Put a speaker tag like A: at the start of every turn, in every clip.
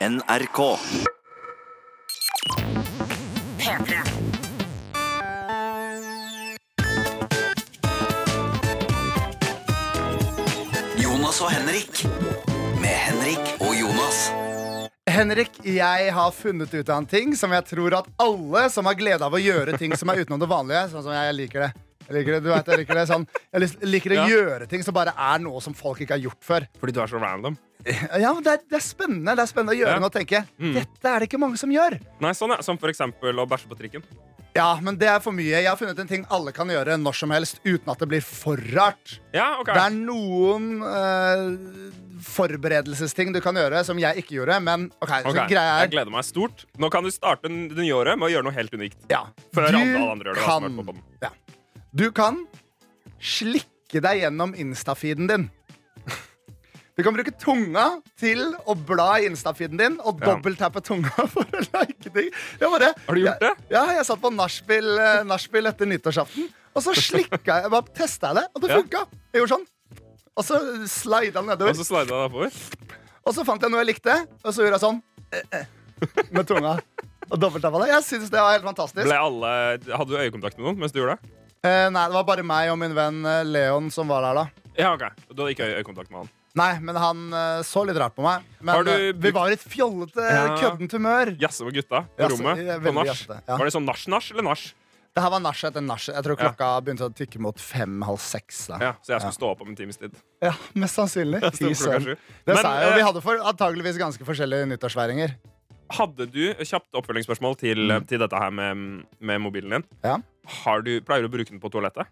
A: NRK.
B: P3.
A: Jonas og Henrik. Med Henrik og Jonas.
C: Henrik, jeg har funnet ut av en ting som jeg tror at alle som har glede av å gjøre ting som er utenom det vanlige, sånn som jeg liker det. Jeg liker det, du vet, jeg liker det sånn. Jeg lis- liker å
D: Ja.
C: gjøre ting som bare er noe som folk ikke har gjort før.
D: Fordi du er så random.
C: Ja, men det er, det er spennende det er spennende å gjøre
D: Ja. Mm.
C: noe og tenke. Dette er det ikke mange som gjør.
D: Nei, sånn ja. Som for eksempel å bæsje på trikken.
C: Ja, men det er for mye. Jeg har funnet en ting alle kan gjøre når som helst uten at det blir for rart.
D: Ja, ok
C: Det er noen eh, forberedelsesting du kan gjøre som jeg ikke gjorde, men OK.
D: Ok,
C: Så greia
D: Jeg
C: er
D: gleder meg stort. Nå kan du starte n- det nye året med å gjøre noe helt unikt.
C: Ja.
D: Før
C: du
D: alle andre gjør det, da, som har vært på
C: kan,
D: podden.
C: ja. du kan slikke deg gjennom Insta-feeden din. Du kan bruke tunga til å bla i Insta-feeden din og
D: Ja.
C: dobbelttappe tunga for å like ting. Jeg bare,
D: Har du gjort det?
C: Jeg, ja, jeg satt på nachspiel eh, nachspiel etter nyttårsaften, og så slikka jeg, bare testa jeg det, og det
D: Ja.
C: funka. Jeg gjorde sånn. Og så slida den
D: Og
C: nedover.
D: så slide deg oppover.
C: Og så fant jeg noe jeg likte, og så gjorde jeg sånn eh, eh, med tunga. Og dobbelttappa det. Jeg syns det var helt fantastisk.
D: Ble alle, hadde du øyekontakt med noen mens du gjorde det?
C: Eh, nei, det var bare meg og min venn eh, Leon som var der da.
D: Ja, ok Du hadde ikke øye- øyekontakt med han.
C: Nei, men han eh, så litt rart på meg. Men
D: Har du
C: eh, vi
D: brukt-
C: var i et fjollete, eh,
D: Ja.
C: køddent humør.
D: Jazze med gutta på
C: Jazze-
D: rommet
C: ja,
D: på
C: veldig
D: nach.
C: jazzete, ja.
D: Var det sånn nach-nach eller nach?
C: Det her var nach etter nach. Jeg tror
D: Ja.
C: klokka begynte å tikke mot fem-halv seks. da.
D: Ja, så jeg skulle stå opp om en times tid.
C: Ja, Mest sannsynlig. Fy
D: klokka
C: søren.
D: sju.
C: Det
D: Men,
C: sa jeg jo.
D: eh,
C: Vi hadde for, antageligvis ganske forskjellige nyttårsfeiringer.
D: Hadde du kjapt oppfølgingsspørsmål til, til dette her med, med mobilen din?
C: Mm. Ja.
D: Har du, pleier du å bruke den på toalettet?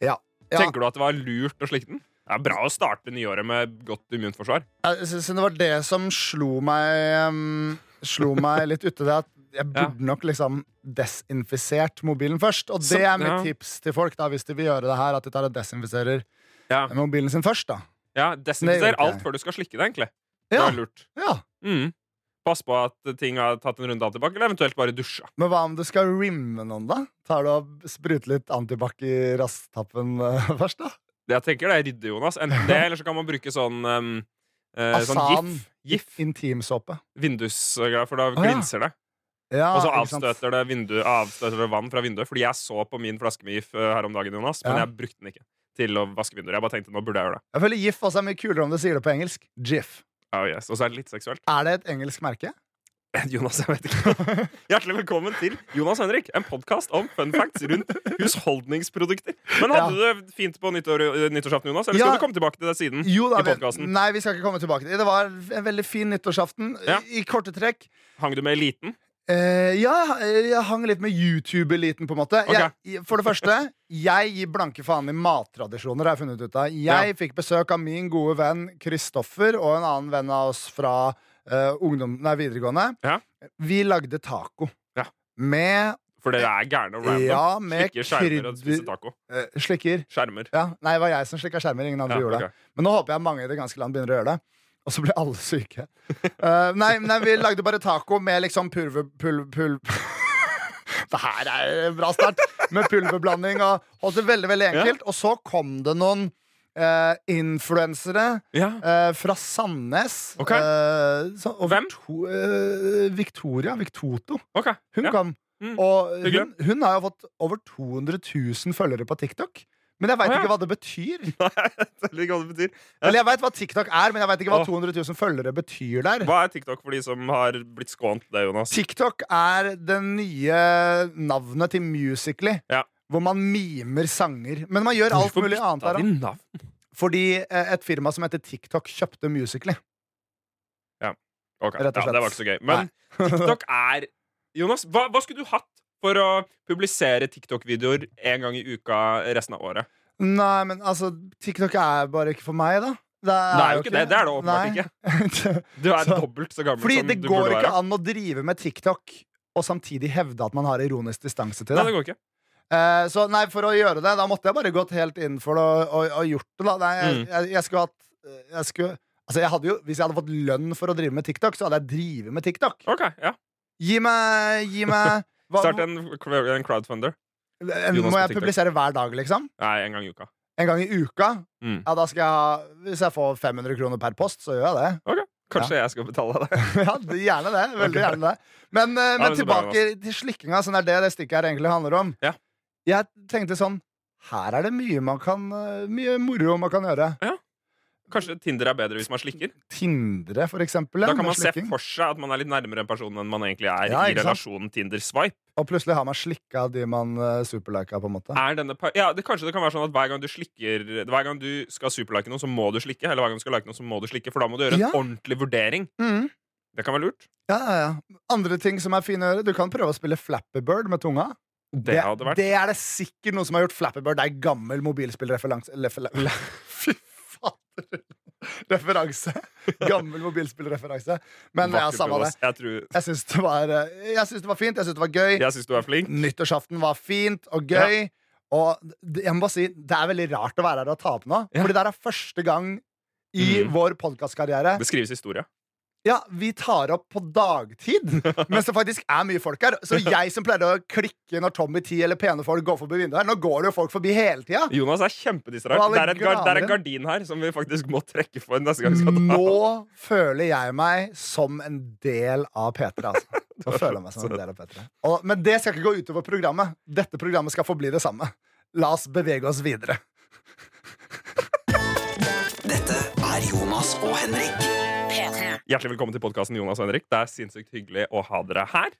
C: Ja. Ja.
D: Tenker du at det var lurt å slikke den? Det er bra å starte nyåret med godt immunforsvar.
C: Jeg syns det var det som slo meg ehm, Slo meg litt ute. Det at jeg
D: Ja.
C: burde nok liksom desinfisert mobilen først. Og
D: Så-
C: det er mitt
D: ja.
C: tips til folk da hvis de vil gjøre det her, at de tar og desinfiserer
D: Ja.
C: mobilen sin først. da
D: Ja,
C: Det gjør
D: Desinfiser
C: ikke
D: alt
C: jeg.
D: før du skal slikke det, egentlig. Det
C: Ja,
D: er lurt.
C: ja.
D: Mm. Pass på at ting har tatt en runde av tilbake, eller eventuelt bare dusja.
C: Men hva om du skal rimme noen, da? Tar du og Spruter litt antibac i rasstappen eh, først, da?
D: Det jeg tenker det er rydde, Jonas. Enten det, eller så kan man bruke sånn um, eh, Sånn
C: Asan.
D: gif. gif
C: Intimsåpe.
D: Vindusgreier, for da
C: ja.
D: glinser det.
C: Ja,
D: Og så
C: Ah, ikke sant?
D: avstøter det, vindu, avstøter det vann fra vinduet. Fordi jeg så på min flaske med gif eh, her om dagen, Jonas, men
C: Ja.
D: jeg brukte den ikke til å vaske vinduer. Jeg bare tenkte nå burde jeg gjøre det.
C: Jeg føler GIF også er mye kulere om du sier det på engelsk. GIF.
D: Oh, yes. Og så er det litt seksuelt.
C: Er det et engelsk merke?
D: Jonas, jeg vet ikke. Hjertelig velkommen til Jonas Henrik, en podkast om fun facts rundt husholdningsprodukter. Men hadde du det fint på nyttår, eh, nyttårsaften, Jonas? Eller
C: Ja.
D: skal du komme tilbake til det siden?
C: Jo da,
D: I
C: vi-
D: podcasten.
C: Nei, vi skal ikke komme tilbake til det. Det var en veldig fin nyttårsaften.
D: Ja.
C: I korte trekk.
D: Hang du med eliten?
C: Eh, ja, jeg, jeg hang litt med YouTube-eliten, på en måte.
D: Ok.
C: Jeg, for det første, jeg gir blanke faen i mattradisjoner, har jeg funnet ut av. Jeg fikk besøk av min gode venn Kristoffer og en annen venn av oss fra eh, ungdom, nei, videregående.
D: Ja.
C: Vi lagde taco.
D: Ja.
C: Med
D: For dere er gærne og random.
C: Ja, med
D: Slikker skjermer og
C: krydder-
D: spiser taco.
C: eh, slikker.
D: Skjermer.
C: Ja, nei, det var jeg som slikka skjermer. Ingen andre
D: Ja,
C: gjorde
D: ok.
C: det. Men nå håper jeg mange i det ganske land begynner å gjøre det. Og så ble alle syke. Eh, nei, nei, vi lagde bare taco med liksom pulver... Pul, pul, det her er en bra start. Med pulverblanding og holdt det veldig veldig enkelt. Og så kom det noen eh, influensere
D: Ja.
C: eh, fra Sandnes.
D: Ok.
C: eh, så, og
D: Hvem?
C: Victo- eh, Victoria. Victoto.
D: Ok.
C: Hun
D: Ja.
C: kom.
D: Mm,
C: Og
D: hyggelig.
C: hun, hun har jo fått over 200 000 følgere på TikTok. Men jeg veit
D: Å, ja.
C: ikke hva det betyr.
D: Jeg vet ikke hva det betyr.
C: Eller jeg veit hva TikTok er, men jeg veit ikke hva
D: Å.
C: 200 000 følgere betyr der.
D: Hva er TikTok for de som har blitt skånt det, Jonas?
C: TikTok er det nye navnet til Musically.
D: Ja.
C: Hvor man mimer sanger. Men man gjør alt mulig annet der. da.
D: navn?
C: Fordi eh, et firma som heter TikTok, kjøpte Musically.
D: Ok,
C: Rett og
D: Ja,
C: slett.
D: det var ikke så gøy. Men TikTok er Jonas, hva, hva skulle du hatt for å publisere TikTok-videoer en gang i uka resten av året?
C: Nei, men altså, TikTok er bare ikke for meg, da. Det er,
D: Det er jo ikke det. Det er det åpenbart ikke.
C: ikke.
D: Du er
C: Så-
D: dobbelt så gammel
C: Fordi
D: som
C: det
D: du
C: går
D: burde
C: ikke
D: være.
C: an å drive med TikTok og samtidig hevde at man har ironisk distanse til
D: Nei,
C: det.
D: det går ikke.
C: Eh, så nei, for å gjøre det, da måtte jeg bare gått helt inn for det og, og, og gjort det, da. Nei, jeg,
D: Mm.
C: jeg, jeg skulle hatt jeg skulle, Altså, jeg hadde jo, Hvis jeg hadde fått lønn for å drive med TikTok, så hadde jeg drevet med TikTok.
D: Ok, ja.
C: Gi meg, gi meg hva,
D: Start en, en crowdfunder.
C: Eh, Må
D: Jonas på
C: jeg
D: TikTok.
C: publisere hver dag, liksom?
D: Nei, en gang i uka.
C: En gang i uka?
D: Mm.
C: Ja, da skal jeg ha Hvis jeg får 500 kroner per post, så gjør jeg det.
D: Ok, Kanskje jeg skal betale deg det.
C: Ja, det- gjerne det. Veldig gjerne det. Men, eh, men
D: men så bra,
C: tilbake til slikkinga. Sånn er det det stikket her egentlig handler om.
D: Ja.
C: Jeg tenkte sånn Her er det mye man kan eh, Mye moro man kan gjøre.
D: Kanskje Tinder er bedre hvis man slikker?
C: Tindre, for eksempel.
D: Da
C: ja,
D: kan
C: med
D: man se
C: slikking.
D: for seg at man er litt nærmere en person enn man egentlig er
C: Ja,
D: i
C: ikke sant?
D: relasjonen Tinder-swipe.
C: Og plutselig har man slikka de man uh, superlika, på en måte.
D: Er denne pa- ja, det, kanskje det kan være sånn at hver gang du slikker Hver gang du skal superlike noen, så må du slikke. Eller hver gang du skal like noen, så må du slikke For da må du gjøre
C: Ja.
D: en ordentlig vurdering.
C: Mm.
D: Det kan være lurt.
C: Ja, ja, ja. Andre ting som er fine å gjøre. Du kan prøve å spille Flappy Bird med tunga.
D: Det hadde vært
C: det er det sikkert noen som har gjort. Flappy Bird det er gammel mobilspillreferanse. lef- le- le- Fy fader! Referanse. Gammel mobilspillreferanse. Men ja,
D: vakkert,
C: samme det.
D: Jonas. Jeg, tror,
C: Jeg syns det, var, eh, jeg syns det var fint. Jeg syns det var gøy.
D: jeg syns du er flink.
C: Nyttårsaften var fint og gøy. Og det- jeg må bare si, det er veldig rart å være her og ta opp nå.
D: Ja.
C: Fordi det her er første gang i
D: Mm.
C: vår podkastkarriere
D: Det skrives historie.
C: ja, vi tar opp på dagtid, mens det faktisk er mye folk her. Så jeg som pleide å klikke når Tommy T eller pene folk går forbi vinduet her, nå går det jo folk forbi hele tida.
D: Jonas er kjempedistrahert.
C: Og alle
D: Det er, et gar, det er
C: graver.
D: en gardin her som vi faktisk må trekke for neste gang. vi Skal ta.
C: Nå føler jeg meg som en del av P3, altså. Nå føler jeg meg som en del av P3. Og, men det skal ikke gå utover programmet. Dette programmet skal forbli det samme. La oss bevege oss videre.
A: Dette er Jonas og Henrik.
B: P3.
D: Hjertelig velkommen til podkasten Jonas og Henrik. Det er sinnssykt hyggelig å ha dere her.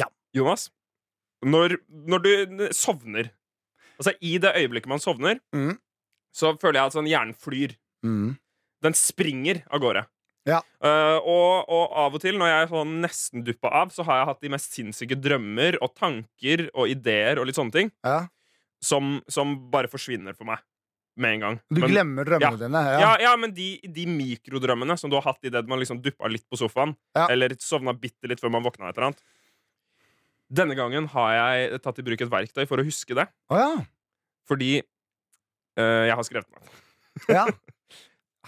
C: Ja.
D: Jonas, når, når du sovner Altså, i det øyeblikket man sovner,
C: Mm.
D: så føler jeg at sånn hjernen flyr.
C: Mm.
D: Den springer av gårde.
C: Ja.
D: Eh, og, og av og til, når jeg er sånn nesten duppa av, så har jeg hatt de mest sinnssyke drømmer og tanker og ideer og litt sånne ting
C: ja.
D: som, som bare forsvinner for meg med en gang.
C: Du
D: Men-
C: glemmer drømmene dine.
D: ja.
C: Ja.
D: Ja, men de, de mikrodrømmene som du har hatt i det man liksom duppa litt på sofaen,
C: Ja.
D: eller sovna bitte litt før man våkna et eller annet. Denne gangen har jeg tatt i bruk et verktøy for å huske det,
C: Å ja.
D: fordi eh, jeg har skrevet meg.
C: ja.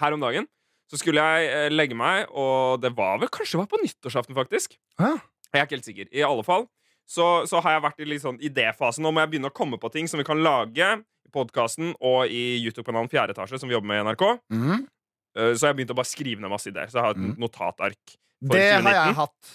D: Her om dagen så skulle jeg eh, legge meg, og det var vel kanskje det var på nyttårsaften, faktisk.
C: Ja.
D: Jeg er ikke helt sikker. I alle fall så, så har jeg vært i litt sånn idéfase. Nå må jeg begynne å komme på ting som vi kan lage i podkasten og i YouTube-kanalen Fjerde etasje, som vi jobber med i NRK.
C: Mm.
D: Eh, Så jeg begynte å bare skrive ned masse ideer. Så jeg har et
C: Mm.
D: notatark. For
C: Det har
D: 2019.
C: jeg hatt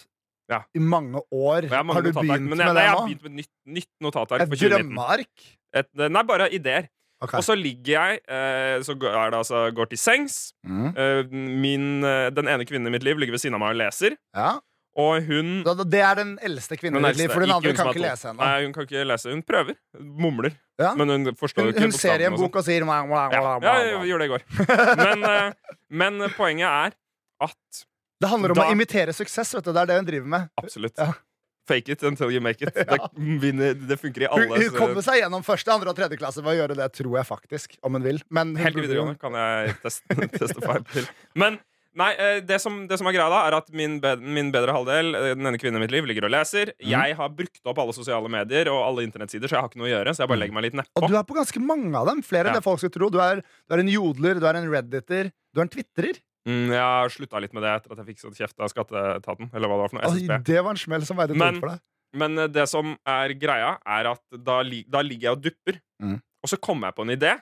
D: Ja.
C: i mange år.
D: Og jeg har mange
C: Har du
D: notatark,
C: begynt
D: men
C: med
D: jeg,
C: det
D: nei, jeg har
C: nå?
D: begynt med et nytt, nytt notatark
C: Et
D: for 2019.
C: drømmeark?
D: Et, eh, nei, bare ideer.
C: Ok.
D: Og så ligger jeg eh, Så går, er det altså, går til sengs.
C: Mm.
D: Eh, Min, eh, den ene kvinnen i mitt liv ligger ved siden av meg og leser.
C: Ja.
D: Og hun
C: Da- da- Det er den eldste kvinnen
D: Den
C: i ditt liv,
D: eldste,
C: for den
D: ikke
C: andre
D: hun
C: kan
D: som
C: ikke
D: er to.
C: lese ennå.
D: Nei, hun kan ikke lese. Hun prøver. Mumler.
C: Ja.
D: Men hun forstår
C: Hun,
D: jo ikke
C: hun ser i en
D: bokstavene og
C: bok og sier wah, wah, wah,
D: sånn. Ja,
C: wah,
D: ja,
C: wah.
D: jeg gjorde det i går. Men, eh, men poenget er at
C: Det handler om
D: Da-
C: å imitere suksess, vet du. Det er det hun driver med.
D: Absolutt.
C: Ja.
D: Fake it until you make it. Det, vinner, det funker i
C: Hun,
D: alle
C: hun kommer seg gjennom første, andre og tredje klasse ved å gjøre det, tror jeg faktisk. Om hun vil. Men hun
D: Helt i
C: burde jo-
D: videregående kan jeg teste, teste feil til. Men nei, eh, det som, det som er greia, da, er at min, bed, min bedre halvdel, eh, den ene kvinnen i mitt liv, ligger og leser.
C: Mm.
D: Jeg har brukt opp alle sosiale medier og alle internettsider, så jeg har ikke noe å gjøre. Så jeg bare legger meg litt
C: Mm. Og
D: nedpå.
C: du er på ganske mange av dem. Flere enn
D: Ja.
C: det folk skulle tro. Du er, du er en jodler, du er en redditer, du er en twitrer.
D: Mm, jeg har slutta litt med det etter at jeg fikk sånn kjeft av skatteetaten. Eller hva det var for noe.
C: Oi,
D: SSB.
C: det var en smell som veide tungt
D: Men-
C: for deg.
D: Men eh, det som er greia, er at da, li da ligger jeg og dupper.
C: Mhm.
D: Og så kommer jeg på en idé.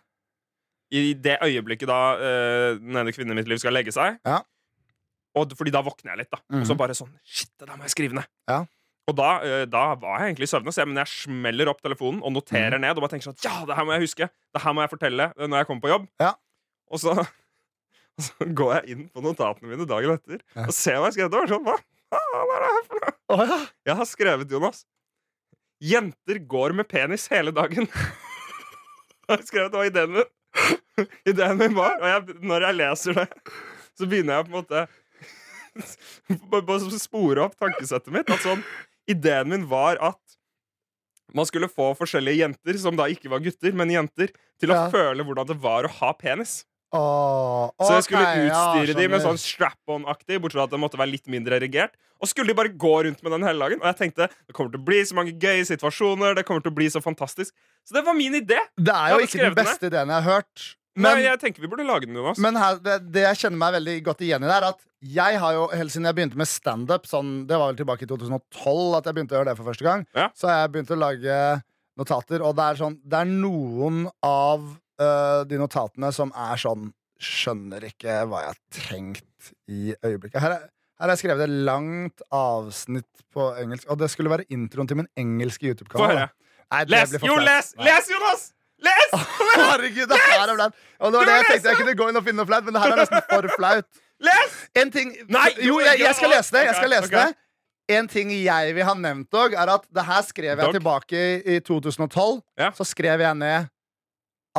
D: I det øyeblikket da eh, den ene kvinnen i mitt liv skal legge seg.
C: Ja.
D: Og, d- fordi da våkner jeg litt, da. Og så
C: Mhm.
D: bare sånn Shit, det der må jeg skrive ned.
C: Ja.
D: Og da, eh, da var jeg egentlig søvnig, så jeg- men jeg smeller opp telefonen og noterer
C: Mhm.
D: ned. Og bare tenker sånn Ja, det her må jeg huske! Det her må jeg fortelle eh, når jeg kommer på jobb.
C: Ja.
D: Og så, og så går jeg inn på notatene mine dagen etter
C: Ja.
D: og ser hva jeg skrev. Det var sånn, hva? faen er det her for noe?
C: Å ja.
D: Jeg har skrevet, Jonas Jenter går med penis hele dagen Jeg har skrevet, det var ideen min Ideen min var Og jeg, når jeg leser det Så begynner jeg på en måte Bare bare spore opp tankesettet mitt At sånn, ideen min var at man skulle få forskjellige jenter Som da ikke var gutter, men jenter Til å
C: Ja.
D: føle hvordan det var å ha penis
C: Åh,
D: så jeg skulle
C: ok, ja,
D: utstyre de med
C: skjønner.
D: sånn strap-on-aktig, bortsett fra at det måtte være litt mindre erigert. Og skulle de bare gå rundt med den hele dagen. Og jeg tenkte det kommer til å bli så mange gøye situasjoner. Det kommer til å bli så fantastisk. Så det var min idé.
C: Det er jo ikke
D: hadde
C: den
D: skrevet den
C: beste ideen jeg har hørt.
D: Men jeg tenker vi burde lage den, Jonas.
C: Men her, det, det jeg kjenner meg veldig godt igjen i, det er at jeg har jo helt siden jeg begynte med standup, sånn, det var vel tilbake i 2012 at jeg begynte å gjøre det for første gang,
D: Ja.
C: så har jeg begynt å lage notater, og det er sånn Det er noen eh, av øh, de notatene som er sånn Skjønner ikke hva jeg har tenkt mitt i øyeblikket. Her, er, her har jeg skrevet et langt avsnitt på engelsk, og det skulle være introen til min engelske
D: Få
C: YouTube-kanal.
D: høre.
C: da. Nei, det
D: Les!
C: blir for
D: Jo,
C: flaut.
D: les!
C: Nei.
D: Les, Jonas! Les!
C: Herregud, det her er flaut! Og det var det jeg tenkte jeg kunne gå inn og finne noe flaut, men det her er nesten for flaut.
D: Les!
C: En ting
D: Nei,
C: Jo, jeg, jeg skal lese det. Jeg skal
D: Ok,
C: lese
D: ok.
C: det. En ting jeg vil ha nevnt òg, er at det her skrev jeg
D: Dog.
C: tilbake i- i 2012.
D: Ja.
C: Så skrev jeg ned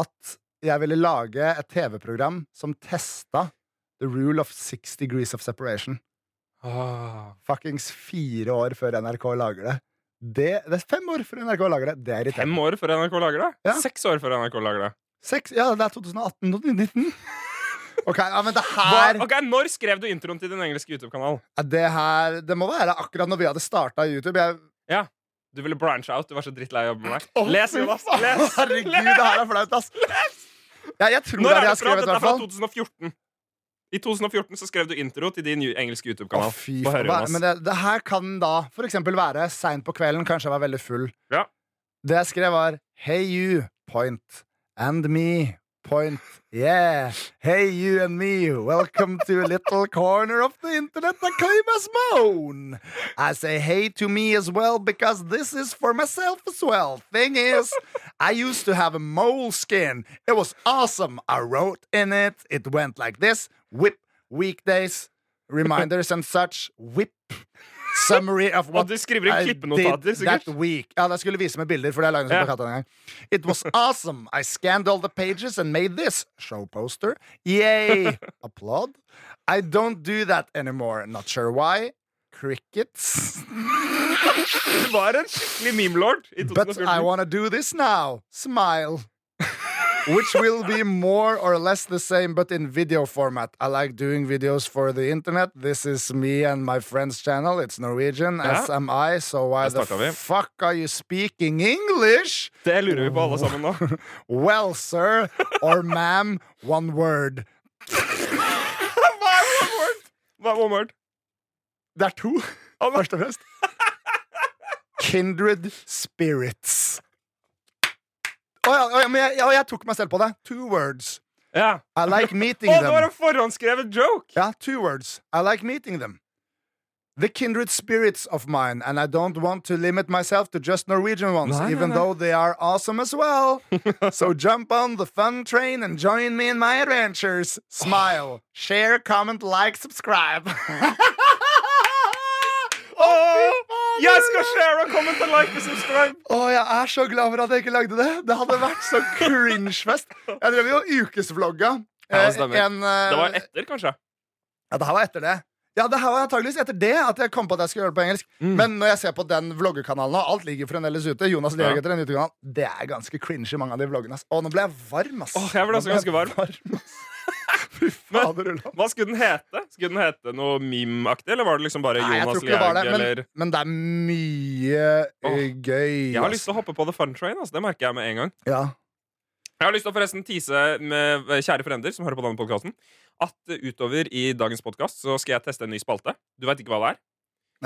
C: at jeg ville lage et TV-program som testa The Rule of Six Degrees of Separation. Fuckings fire år før NRK lager det. Det, det er fem år før NRK lager det. Det er
D: Fem
C: irriterende.
D: år før NRK lager det?
C: Ja.
D: Seks år før NRK lager det.
C: Seks, ja, det er 2018 og 2019. Ok, ja, men det
D: Hva,
C: her
D: ok, Når skrev du introen til din engelske YouTube-kanal?
C: Ja, Det her, det må være akkurat når vi hadde starta YouTube. Jeg,
D: Du ville branche out. Du var så drittlei av å jobbe med meg.
C: Å,
D: Les,
C: fy
D: Jonas!
C: faen,
D: Les!
C: Herregud, det
D: les.
C: her er flaut, ass. Ja, jeg tror det er
D: Når
C: det jeg
D: er det
C: har
D: fra?
C: skrevet, i
D: Dette er
C: hvert
D: fra
C: fall.
D: 2014. I 2014 så skrev du intro til din ju- engelske
C: Å,
D: YouTube-kanal.
C: fy
D: Få høre,
C: faen.
D: Jonas.
C: Men det, det her kan da for eksempel være seint på kvelden, kanskje jeg var veldig full.
D: Ja.
C: Det jeg skrev, var Hey you, point. And me, point. Yeah. Hey you and me, welcome to a little corner of the internet I claim as mine. I say hey to me as well because this is for myself as well. Thing is, I used to have a mole skin. It was awesome. I wrote in it. It went like this whip, weekdays, reminders and such. Whip. Summary of what
D: Og du skriver inn
C: I
D: klippenotater,
C: did
D: sikkert.
C: that week. Ja, jeg skulle vise med bilder, for det har jeg laget en sånn
D: Ja.
C: plakat en gang. It was awesome. I scanned all the pages and made this show poster. Yay! Applaud. I don't do that anymore. Not sure why. Crickets.
D: Du var en skikkelig memelord i
C: But I
D: 2014.
C: wanna do this now. Smile. Which will be more or less the same, but in video format. I like doing videos for the internet. This is me and my friend's channel. It's Norwegian,
D: Ja.
C: as am I. So why
D: Der
C: the
D: startet vi.
C: fuck are you speaking English?
D: Det lurer vi på alle sammen nå.
C: Well, sir or ma'am, one word.
D: Hva er one word? Hva er one word?
C: Det er to,
D: Å, nei.
C: først og fremst. Kindred spirits. Å ja, å ja, men jeg, ja, jeg tok meg selv på det. Two words.
D: Ja.
C: I like meeting
D: Å, det var
C: them.
D: en forhåndsskrevet joke!
C: Ja, two words. I like meeting them. The kindred spirits of mine, and I don't want to limit myself to just Norwegian ones,
D: Nei, nei,
C: even
D: nei.
C: though they are awesome as well. so jump on the fun train and join me in my adventures. Smile, share, comment, like, subscribe.
D: Å, jeg skal share og comment and like og subscribe!
C: Å, jeg er så glad for at jeg ikke lagde det. Det hadde vært så cringe-fest. Jeg drev jo ukesvlogga.
D: Ja, det
C: Eh,
D: stemmer.
C: en, eh,
D: Det var etter, kanskje.
C: Ja, det her var etter det. Ja, det her var antageligvis etter det at jeg kom på at jeg skulle gjøre det på engelsk.
D: Mm.
C: Men når jeg ser på den vloggekanalen, og alt ligger fremdeles ute Jonas
D: Ja.
C: Lier etter den utekanalen Det er ganske cringe i mange av de vloggene. ass. Å, nå ble jeg varm, ass.
D: Åh, jeg ble
C: Nå
D: også ganske varm.
C: ass. Fy fader, Ulla.
D: Hva skulle den hete? Skulle den hete noe meme-aktig, eller var det liksom bare
C: Nei, jeg tror
D: Jonas
C: ikke det var
D: Lihaug,
C: det, men,
D: eller
C: men det er mye eh, gøy.
D: Jeg har lyst til å hoppe på the fun train, altså. Det merker jeg med en gang.
C: Ja.
D: Jeg har lyst til å forresten tease med eh, kjære frender som hører på denne podkasten, at eh, utover i dagens podkast så skal jeg teste en ny spalte. Du veit ikke hva det er.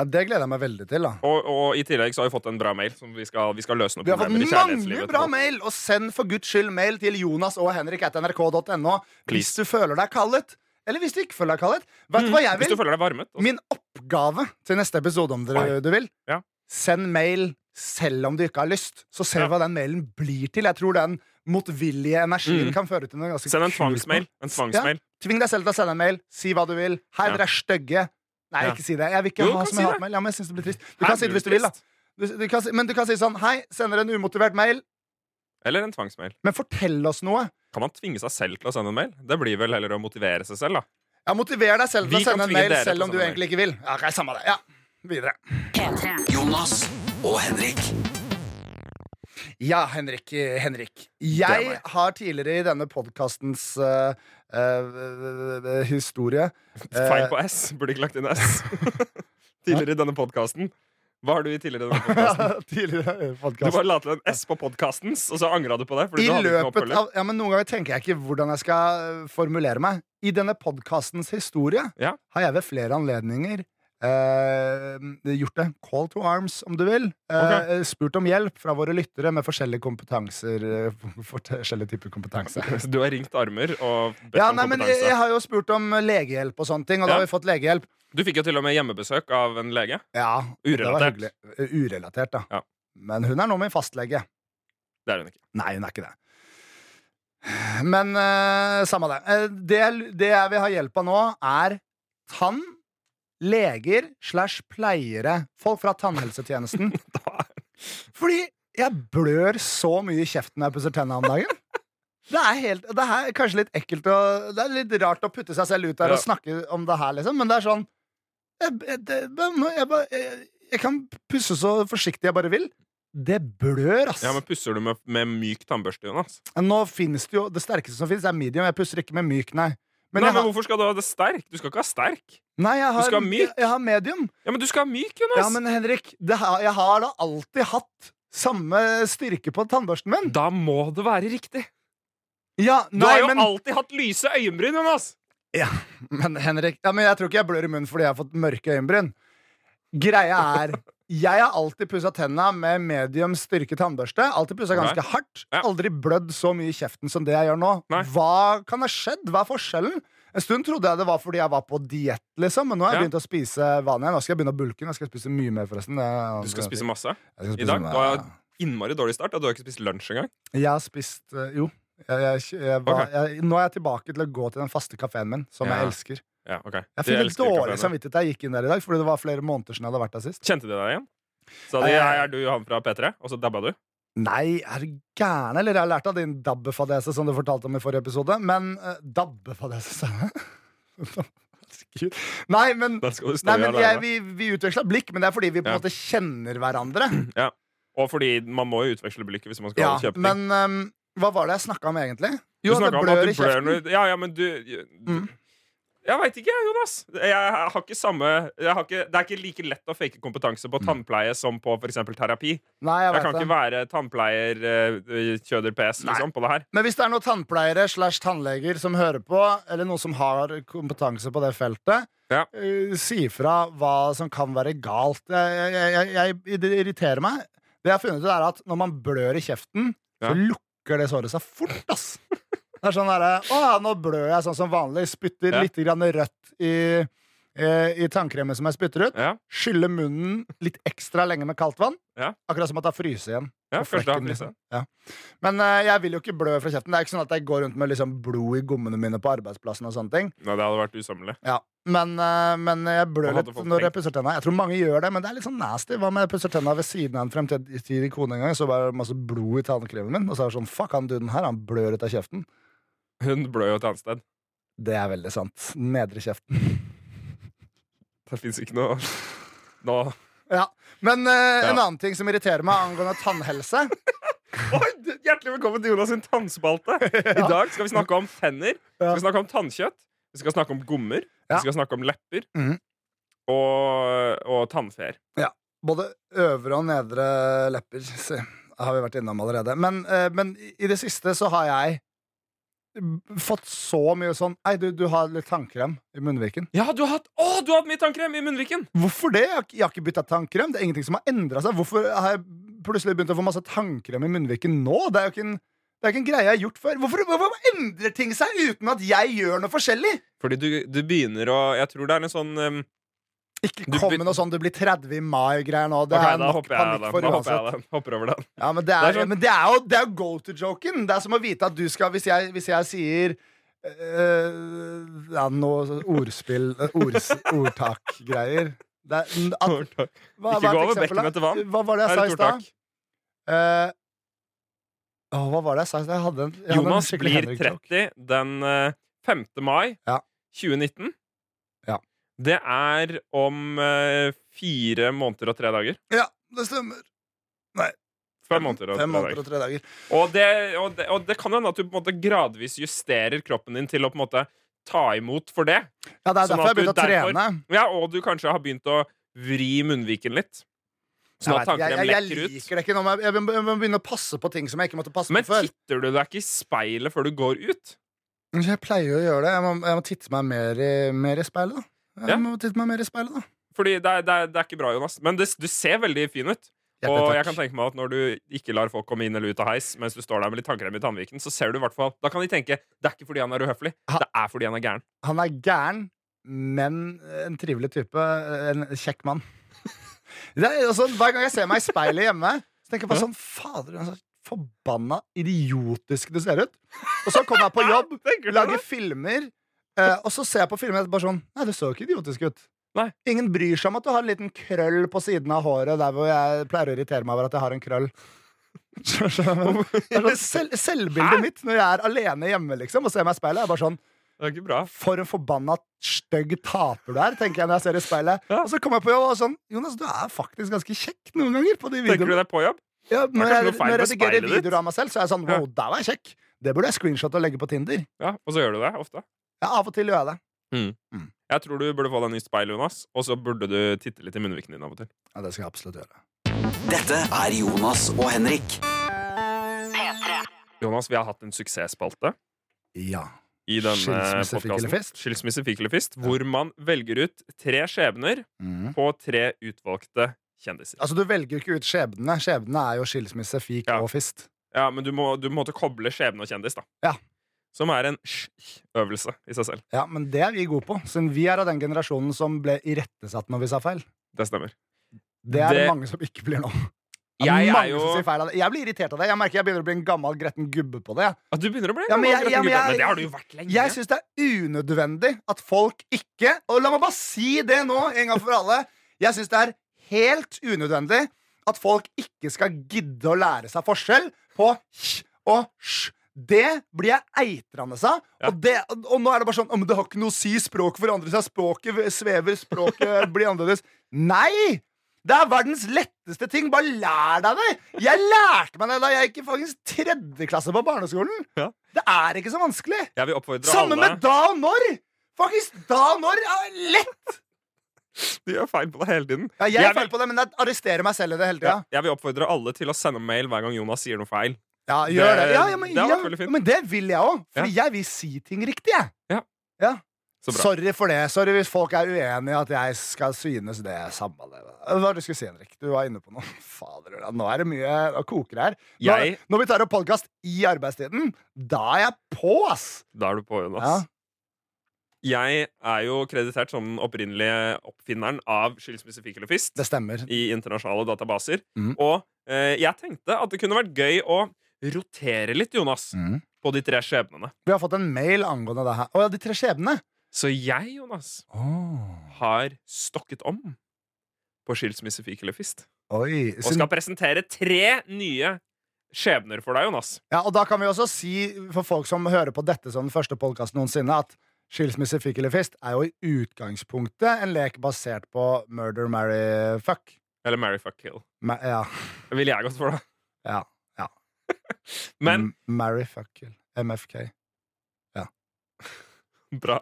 C: ja, det gleder jeg meg veldig til, da.
D: Og, og i tillegg så har vi fått en bra mail som vi skal, vi skal løse noen
C: Vi har fått
D: problemer i
C: mange
D: kjærlighetslivet.
C: bra
D: til folk.
C: mail, og send for guds skyld mail til Jonas og Henrik at nrk.no hvis
D: Please. Mm,
C: du føler deg kallet. Eller hvis du ikke føler deg kallet. Vet du hva jeg
D: Hvis du
C: vil?
D: føler deg varmet. altså.
C: Min oppgave til neste episode, om dere
D: Oi.
C: du vil,
D: Ja.
C: send mail selv om du ikke har lyst. Så ser vi
D: Ja.
C: hva den mailen blir til. Jeg tror den motvillige energien
D: Mm.
C: kan føre til noe ganske
D: Send en
C: kult.
D: tvangsmail. En tvangsmail.
C: Tving deg selv til å sende en mail. Si hva du vil. Hei,
D: Ja.
C: dere er stygge. Nei,
D: Ja.
C: ikke si det. Jeg vil ikke
D: Jo, du
C: ha
D: kan
C: som
D: si
C: en
D: det.
C: hatmail. Ja, men jeg synes det blir trist. Du
D: Her
C: kan si
D: blir
C: det hvis du
D: det
C: vil, da.
D: trist.
C: Du, du kan si, men du kan si sånn Hei, sender en umotivert mail.
D: Eller en tvangsmail.
C: Men fortell oss noe.
D: Kan man tvinge seg selv til å sende en mail? Det blir vel heller å motivere seg selv, da.
C: Ja, Motiver deg selv til
D: Vi
C: å sende
D: kan
C: en
D: tvinge
C: mail
D: dere til
C: selv
D: å
C: om du
D: sende en
C: egentlig ikke vil. Ja, ok, samme det. Ja, videre.
A: Jonas og Henrik.
C: Ja, Henrik. eh, Henrik.
D: er
C: Jeg
D: meg.
C: har tidligere i denne podkastens eh, eh, eh, historie eh,
D: Feil på S. Burde ikke lagt inn S. tidligere i denne podkasten. Hva har du i tidligere i denne podkasten?
C: Tidligere
D: Du
C: podkast.
D: bare la til en S på podkastens, og så angra du på det. Fordi
C: I
D: du hadde ikke noe
C: løpet
D: oppfølger.
C: av Ja, men Noen ganger tenker jeg ikke hvordan jeg skal eh, formulere meg. I denne podkastens historie
D: Ja.
C: har jeg ved flere anledninger eh, gjort det. Call to arms, om du vil. Eh, Spurt om hjelp fra våre lyttere med forskjellige kompetanser. eh, forskjellige typer kompetanse.
D: Så du har ringt armer og bedt
C: Ja,
D: om
C: nei, men jeg,
D: kompetanse.
C: jeg har jo spurt om legehjelp og sånne ting, og da
D: Ja.
C: har vi fått legehjelp.
D: Du fikk jo til og med hjemmebesøk av en lege.
C: Ja, det var
D: Urelatert.
C: hyggelig. Eh, Urelatert, da.
D: Ja.
C: Men hun er nå min fastlege.
D: Det er hun ikke.
C: Nei, hun er ikke det. Men eh, samme det. Eh, det. Det jeg vil ha hjelp av nå, er tann, leger slash pleiere. Folk fra tannhelsetjenesten. Fordi jeg blør så mye i kjeften når jeg pusser tenna om dagen. Det er, helt, det er kanskje litt ekkelt å, Det er litt rart å putte seg selv ut der
D: Ja.
C: og snakke om det her, liksom, men det er sånn Jeg, jeg, det, jeg, bare- jeg, jeg kan pusse så forsiktig jeg bare vil. Det blør, ass.
D: Ja, men Pusser du med, med myk tannbørste, Jonas?
C: Nå finnes det jo Det sterkeste som finnes, er medium. Jeg pusser ikke med myk, nei. Men
D: nei,
C: jeg
D: men
C: har,
D: Hvorfor skal du ha det sterk? Du skal ikke ha sterk.
C: nei, jeg har,
D: skal ha myk?
C: Jeg, jeg har medium.
D: Ja, Men du skal ha myk, Jonas!
C: Ja, men Henrik, det har, jeg har da alltid hatt samme styrke på tannbørsten min.
D: Da må det være riktig.
C: Ja,
D: Du har
C: nei,
D: jo
C: men,
D: alltid hatt lyse øyenbryn, Jonas!
C: men Henrik ja, men Jeg tror ikke jeg blør i munnen fordi jeg har fått mørke øyenbryn. Greia er Jeg har alltid pussa tenna med medium styrke tannbørste. Alltid pussa ganske
D: Nei.
C: hardt.
D: Ja.
C: Aldri blødd så mye i kjeften som det jeg gjør nå.
D: Nei.
C: Hva kan ha skjedd? Hva er forskjellen? En stund trodde jeg det var fordi jeg var på diett, liksom. Men nå har jeg
D: Ja.
C: begynt å spise vanlig. Nå skal jeg begynne å bulke. Nå skal jeg spise mye mer, forresten. Jeg-
D: Du skal spise masse.
C: Jeg skal
D: I dag?
C: spise-
D: Du har innmari dårlig start. og Du har ikke spist lunsj engang.
C: Jeg har spist eh, Jo. Jeg, jeg, jeg, var-
D: Ok.
C: jeg, nå er jeg tilbake til å gå til den faste kafeen min, som
D: Ja.
C: jeg elsker.
D: Ja, ok
C: Jeg
D: De
C: fikk litt
D: elsker
C: dårlig
D: kafeene.
C: samvittighet da jeg gikk inn der i dag, fordi det var flere måneder siden jeg hadde vært der sist.
D: Kjente de deg igjen? Sa de
C: Eh.
D: «Hei, er du han fra P3? Og så dabba du?
C: Nei, er du gæren? Eller jeg har lært av din dabbefadese, som du fortalte om i forrige episode. Men eh, Dabbefadese, sa jeg? Herregud. Nei, men,
D: Da skal du stå
C: nei, men jeg,
D: alene.
C: vi, vi utveksla blikk, men det er fordi vi på en
D: Ja.
C: måte kjenner hverandre.
D: Og fordi man må jo utveksle blikket hvis man skal
C: Ja,
D: kjøpe ting.
C: men ehm, hva var det jeg snakka om egentlig?
D: Du
C: Jo, det
D: snakket om at
C: blør
D: du
C: i kjeften.
D: blør når- Ja, ja, men du du-
C: Mm.
D: Jeg veit ikke, jeg, Jonas. Jeg har ikke samme jeg har ikke, Det er ikke like lett å fake kompetanse på tannpleie som på f.eks. terapi.
C: Nei, Mm. jeg,
D: Jeg
C: vet
D: kan
C: det.
D: ikke være tannpleier eh, Kjøder PS
C: Nei.
D: liksom, på det her.
C: Men hvis det er noen tannpleiere slash tannleger som hører på, eller noen som har kompetanse på det feltet,
D: Ja.
C: eh, si ifra hva som kan være galt. Jeg, jeg, jeg, jeg, det irriterer meg. Det jeg har funnet ut, er at når man blør i kjeften,
D: Ja.
C: så lukker det såret seg fort, ass. Det er sånn derre Å ja, nå blør jeg sånn som vanlig. Spytter
D: Ja.
C: litt grann rødt i, eh, i tannkremen som jeg spytter ut.
D: Ja,
C: Skyller munnen litt ekstra lenge med kaldt vann.
D: Ja.
C: Akkurat som at det har fryst igjen. På
D: ja kanskje det
C: flekken,
D: hadde lyst
C: liksom. Men eh, jeg vil jo ikke blø fra kjeften. Det er ikke sånn at jeg går rundt med liksom blod i gommene mine på arbeidsplassen. og sånne ting
D: Nei, det hadde vært usømmelig.
C: ja. men, eh, men jeg blør
D: Hva hadde
C: litt
D: folk
C: når jeg
D: tenkt?
C: pusser tenna. Jeg tror mange gjør det, men det er litt sånn nasty. Hva om jeg pusser tenna ved siden av en fremtidig kone en gang, så var det masse blod i tannkremen min, og så er det sånn fuck, han duden her, han blør ut av kjeften.
D: Hun blør jo et annet sted.
C: Det er veldig sant. Nedre kjeften.
D: Det fins ikke noe Nå
C: Ja. Men eh, en
D: Ja.
C: annen ting som irriterer meg angående tannhelse
D: Oi, Hjertelig velkommen til Jonas sin tannspalte. I dag skal vi snakke om tenner. Vi
C: Ja.
D: skal snakke om tannkjøtt. Vi skal snakke om gommer.
C: Ja.
D: Vi skal snakke om lepper.
C: Mhm.
D: Og, og tannfeer.
C: Både øvre og nedre lepper se, har vi vært innom allerede. Men, eh, men i- i det siste så har jeg b- fått så mye sånn Ei, du, du har litt tannkrem i munnviken.
D: Ja, du har hatt, å, du har hatt mye tannkrem i munnviken!
C: Hvorfor det? Jeg har, ikke- jeg har ikke bytta tannkrem. Det er ingenting som har endra seg. Hvorfor har jeg plutselig begynt å få masse tannkrem i munnviken nå? Det er jo ikke en, det er ikke en greie jeg har gjort før. Hvorfor, hvorfor endrer ting seg uten at jeg gjør noe forskjellig?
D: Fordi du, du begynner å Jeg tror det er en sånn um,
C: Ikke
D: Du
C: kom
D: by-
C: med noe sånn 'du blir 30 i mai'-greier nå. Det
D: ok,
C: er
D: da
C: nok
D: hopper jeg
C: panikk
D: den.
C: for
D: Da hopper
C: uansett.
D: jeg den. Hopper over den.
C: Ja, men det er,
D: Det er sånn-
C: men det er jo, det er jo go to joken. Det er som å vite at du skal Hvis jeg, hvis jeg sier øh, ja, noe sånn ordspill øh, ords, Ordtakgreier. Det er- n- at- hva-
D: Ikke
C: hva er
D: gå
C: et
D: over
C: eksempel,
D: bekken
C: da?
D: etter vann.
C: Hva var det jeg
D: Her
C: sa
D: er
C: i
D: et
C: stad?
D: ordtak.
C: Eh, åh, hva var det jeg sa i stad? Jeg hadde en, jeg hadde en
D: Jonas
C: skikkelig
D: blir
C: Henrik-joke.
D: 30 den eh, 5. mai
C: Ja.
D: 2019.
C: Ja.
D: Det er om eh, fire måneder og tre dager.
C: Ja, det stemmer.
D: Fem måneder og tre
C: Fem måneder
D: dager.
C: og tre dager.
D: Og det, og, det, og det kan hende at du på en måte gradvis justerer kroppen din til å på en måte ta imot for det.
C: Ja, det er
D: Sånn
C: derfor jeg
D: at du
C: begynte å
D: derfor-
C: trene.
D: Ja, Og du kanskje har begynt å vri munnviken litt.
C: Jeg
D: Sånn at
C: vet ikke,
D: tanken
C: jeg, jeg,
D: lekker
C: jeg
D: ut.
C: liker det ikke nå. men Jeg, jeg, må- jeg må begynne å passe på ting som jeg ikke måtte passe
D: Men
C: på før.
D: titter du deg ikke i speilet før du går ut?
C: Jeg pleier jo å gjøre det. Jeg må, jeg må titte meg mer i, mer i speilet, da. Jeg
D: Ja.
C: må titte meg mer i speilet, da.
D: Fordi det er, det, er, det er ikke bra, Jonas. Men det, du ser veldig fin ut.
C: Hjertelig
D: Og
C: takk.
D: jeg kan tenke meg at når du ikke lar folk komme inn eller ut av heis, mens du står der med litt tannkrem i tannviken, så ser du i hvert fall Da kan de tenke det er ikke fordi han er uhøflig,
C: Ha-
D: det er fordi han er gæren.
C: Han er gæren, men en trivelig type. En kjekk mann. Det er, altså, hver gang jeg ser meg i speilet hjemme, Så tenker jeg bare sånn Fader, du er så forbanna idiotisk du ser ut. Og så kommer jeg på jobb,
D: Tenker du det?
C: lager filmer, eh, og så ser jeg på filmer og bare sånn Nei, du så jo ikke idiotisk ut.
D: Nei.
C: Ingen bryr seg om at du har en liten krøll på siden av håret der hvor jeg pleier å irritere meg over at jeg har en krøll. Skjønner du? Det er sånn Selv,
D: Hæ?
C: selvbildet mitt når jeg er alene hjemme liksom, og ser meg i speilet, er bare sånn
D: Det er ikke bra.
C: for en forbanna stygg taper du er, tenker jeg når jeg ser i speilet.
D: Ja.
C: Og så kommer jeg på jobb og er sånn Jonas, du er faktisk ganske kjekk noen ganger. på de
D: Tenker du
C: videoene.
D: det er på jobb?
C: Ja,
D: kanskje
C: når, jeg,
D: noe feil
C: når jeg
D: med
C: redigerer
D: speilet ditt?
C: videoer av meg selv, så er jeg sånn
D: Ja.
C: Wow, der var jeg kjekk. Det burde jeg screenshotte og legge på Tinder.
D: Ja, Og så gjør du det ofte?
C: Ja, Av og til gjør jeg det.
D: Jeg tror du burde få deg nytt speil, Jonas, og så burde du titte litt i munnviken din av og til.
C: Ja, det skal jeg absolutt gjøre.
A: Dette er Jonas og Henrik.
D: Jonas, vi har hatt en suksessspalte
C: Ja.
D: i denne
C: Skilsmisse, fikk eller
D: podkasten.
C: fest?
D: Skilsmisse, fikk eller fist. Hvor man velger ut tre skjebner
C: Mm.
D: på tre utvalgte kjendiser.
C: Altså, du velger jo ikke ut skjebnene. Skjebnene er jo skilsmisse, fik
D: Ja.
C: og fist.
D: Ja, men du må, du må måtte koble skjebne og kjendis, da.
C: Ja.
D: Som er en øvelse i seg selv.
C: Ja, men det er vi gode på, siden vi er av den generasjonen som ble irettesatt når vi sa feil.
D: Det stemmer.
C: Det er det
D: Det-
C: mange som ikke blir nå. Det er
D: Jeg er
C: mange
D: jo
C: som sier feil av det. Jeg blir irritert av det. Jeg merker jeg begynner å bli en gammel gretten gubbe på det.
D: Ah, Du begynner å bli en
C: Ja, men
D: gammel
C: jeg- ja, men
D: gretten gubbe,
C: jeg-
D: men det har du jo vært lenge.
C: Jeg syns det er unødvendig at folk ikke Og la meg bare si det nå, en gang for alle. Jeg syns det er helt unødvendig at folk ikke skal gidde å lære seg forskjell på kj og sj. Det blir jeg eitrende av.
D: Ja.
C: Og, det, og nå er det bare sånn «Å, Men det har ikke noe å si. Språket forandrer seg. Språket svever. Språket blir annerledes. Nei! Det er verdens letteste ting. Bare lær deg det! Jeg lærte meg det da jeg gikk i faktisk tredje klasse på barneskolen.
D: Ja.
C: Det er ikke så vanskelig.
D: Jeg vil oppfordre
C: Samme
D: alle
C: med da og når! Faktisk, da og når er lett!
D: Du gjør feil på det hele tiden.
C: Ja, jeg
D: Jeg
C: er feil på det, men jeg arresterer meg selv i det hele tida.
D: Ja, Jeg vil oppfordre alle til å sende mail hver gang Jonas sier noe feil.
C: Ja, gjør det.
D: Det-
C: Ja, ja, men,
D: det har
C: ja,
D: vært veldig fint.
C: men det vil jeg òg, for jeg vil si ting riktig, jeg.
D: Så bra.
C: Sorry for det. Sorry hvis folk er uenige i at jeg skal synes det samme. Det. Hva var det du skulle si, Henrik? Du var inne på noe. Fader, Ulla, nå er det mye å koke her. Nå,
D: Jeg-
C: når vi tar opp podkast i arbeidstiden, da er jeg på, ass!
D: Da er du på, Jonas.
C: Ja.
D: Jeg er jo kreditert som den opprinnelige oppfinneren av skilsmisse, fikk eller fist.
C: Det stemmer.
D: i internasjonale databaser.
C: Mhm.
D: Og eh, jeg tenkte at det kunne vært gøy å rotere litt, Jonas,
C: Mhm.
D: på de tre skjebnene.
C: Vi har fått en mail angående det her. Å ja, de tre skjebnene.
D: Så jeg, Jonas, har stokket om på skilsmisse, fik eller fist.
C: Oi.
D: Og skal presentere tre nye skjebner for deg, Jonas.
C: Ja, og da kan vi også si for folk som hører på dette som den første podkasten noensinne, at Skilsmisse, fikk eller fist er jo i utgangspunktet en lek basert på murder, marry, fuck.
D: Eller Mary Fuck Kill.
C: Ma ja.
D: Det ville jeg gått for, da.
C: Ja, ja.
D: Men
C: M- Marry, fuck, kill. MFK. Mm.
D: bra.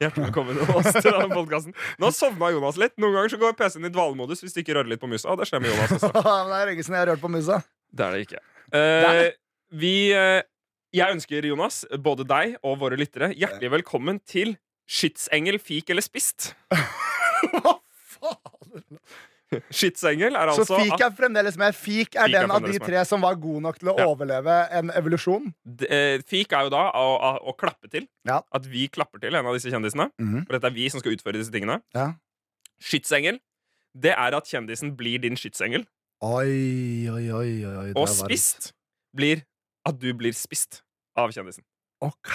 D: Hjertelig velkommen til oss til denne podkasten. Nå sovna Jonas litt. Noen ganger så går PC-en i dvalemodus hvis du ikke rører litt på musa. Og det skjer med Jonas også.
C: Men det er lenge siden jeg har rørt på musa.
D: Det er det ikke.
C: er
D: Eh, vi, eh, jeg ønsker Jonas, både deg og våre lyttere, hjertelig velkommen til Skytsengel, fik eller spist.
C: Hva faen?
D: Skytsengel er
C: Så
D: altså
C: fik
D: at
C: er fremdeles med. Fik er
D: Fik er
C: den av de
D: fremdeles med.
C: tre som var god nok til å
D: Ja.
C: overleve en evolusjon.
D: eh, Fik er jo da å, å, å klappe til.
C: Ja. Mhm.
D: At vi klapper til en av disse kjendisene. For dette er vi som skal utføre disse tingene.
C: Ja.
D: Skytsengel, det er at kjendisen blir din skytsengel.
C: Oi, oi, oi, oi. oi, det
D: Og
C: var-
D: spist blir at du blir spist av kjendisen.
C: Ok.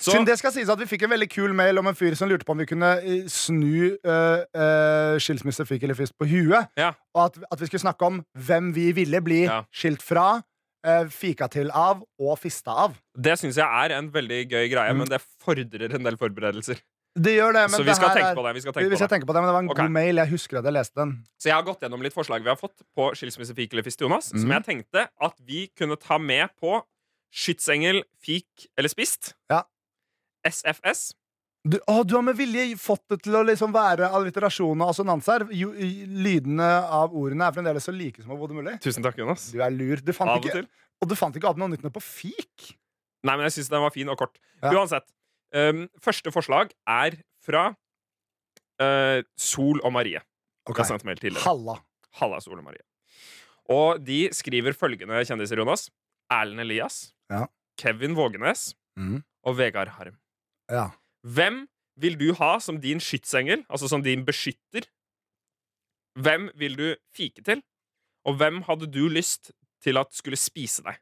D: Så
C: Siden det skal sies at Vi fikk en veldig kul mail om en fyr som lurte på om vi kunne eh, snu eh, eh, skilsmisse, fikk eller fist på huet.
D: Ja.
C: Og at, at vi skulle snakke om hvem vi ville bli
D: Ja.
C: skilt fra, eh, fika til av og fista av.
D: det syns jeg er en veldig gøy greie,
C: Mm.
D: men det fordrer en del forberedelser.
C: Det gjør det, men
D: Så
C: det
D: vi skal
C: her
D: tenke
C: er-
D: på det. Vi skal
C: vi-
D: tenke
C: vi
D: på
C: skal
D: det.
C: tenke på det, men det var en
D: Ok.
C: god mail. Jeg husker at jeg leste den.
D: Så jeg har gått gjennom litt forslag vi har fått på skilsmisse, fik eller fist, Jonas, som
C: Mhm.
D: jeg tenkte at vi kunne ta med på skytsengel, fik eller spist.
C: Ja.
D: SFS.
C: Du, å, du har med vilje fått det til å liksom være alliterasjon og assonanser. Jo, i- Lydene av ordene er fremdeles så like som overhodet mulig.
D: Tusen takk, Jonas.
C: Du er lur. Du fant
D: Av og
C: ikke,
D: til.
C: og du fant ikke opp noe nytt nå på fik.
D: Nei, men jeg syns den var fin og kort.
C: Ja.
D: Uansett. Um, første forslag er fra eh, Sol og Marie.
C: Ok.
D: Jeg har sendt mail tidligere.
C: Halla.
D: Halla, Sol og Marie. Og de skriver følgende kjendiser, Jonas. Erlend Elias.
C: Ja.
D: Kevin Vågenes.
C: Mhm.
D: Og Vegard Harm.
C: Ja.
D: Hvem vil du ha som din skytsengel, altså som din beskytter? Hvem vil du fike til? Og hvem hadde du lyst til at skulle spise deg?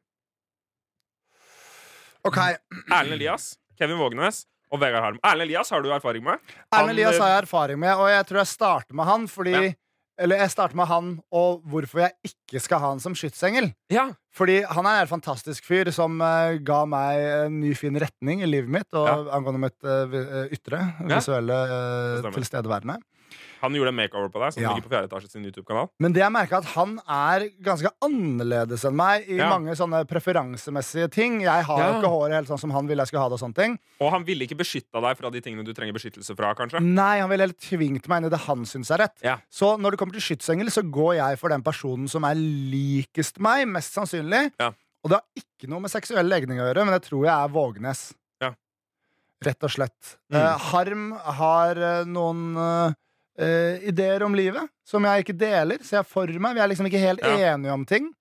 C: Ok.
D: Erlend Elias, Kevin Vågenes og Vegard Harm. Erlend Elias har du erfaring med. Han,
C: Erlend Elias
D: eh,
C: har jeg erfaring med, og jeg tror jeg starter med han fordi
D: Ja.
C: Eller jeg starter med han og hvorfor jeg ikke skal ha han som skytsengel.
D: Ja,
C: Fordi han er en fantastisk fyr som eh, ga meg en ny, fin retning i livet mitt og
D: Ja.
C: angående mitt eh, vi- eh, ytre,
D: Ja.
C: visuelle eh,
D: Det stemmer.
C: tilstedeværende.
D: Han gjorde en makeover på deg, som
C: Ja.
D: ligger på fjerde etasje sin YouTube-kanal.
C: Men det jeg merka, at han er ganske annerledes enn meg i
D: Ja.
C: mange sånne preferansemessige ting. Jeg har jo
D: Ja.
C: ikke håret helt sånn som han ville jeg skulle ha det. og sånne ting
D: Og han ville ikke beskytta deg fra de tingene du trenger beskyttelse fra, kanskje.
C: Nei, han ville helt tvingt meg inn i det han syns er rett.
D: Ja.
C: Så når det kommer til skytsengel, så går jeg for den personen som er likest meg, mest sannsynlig.
D: Ja.
C: Og det har ikke noe med seksuell legning å gjøre, men jeg tror jeg er Vågenes.
D: Ja.
C: Rett og slett.
D: Mm.
C: Eh, Harm har eh, noen eh, eh, ideer om livet som jeg ikke deler, så jeg er for meg. Vi er liksom ikke helt
D: Ja.
C: enige om ting.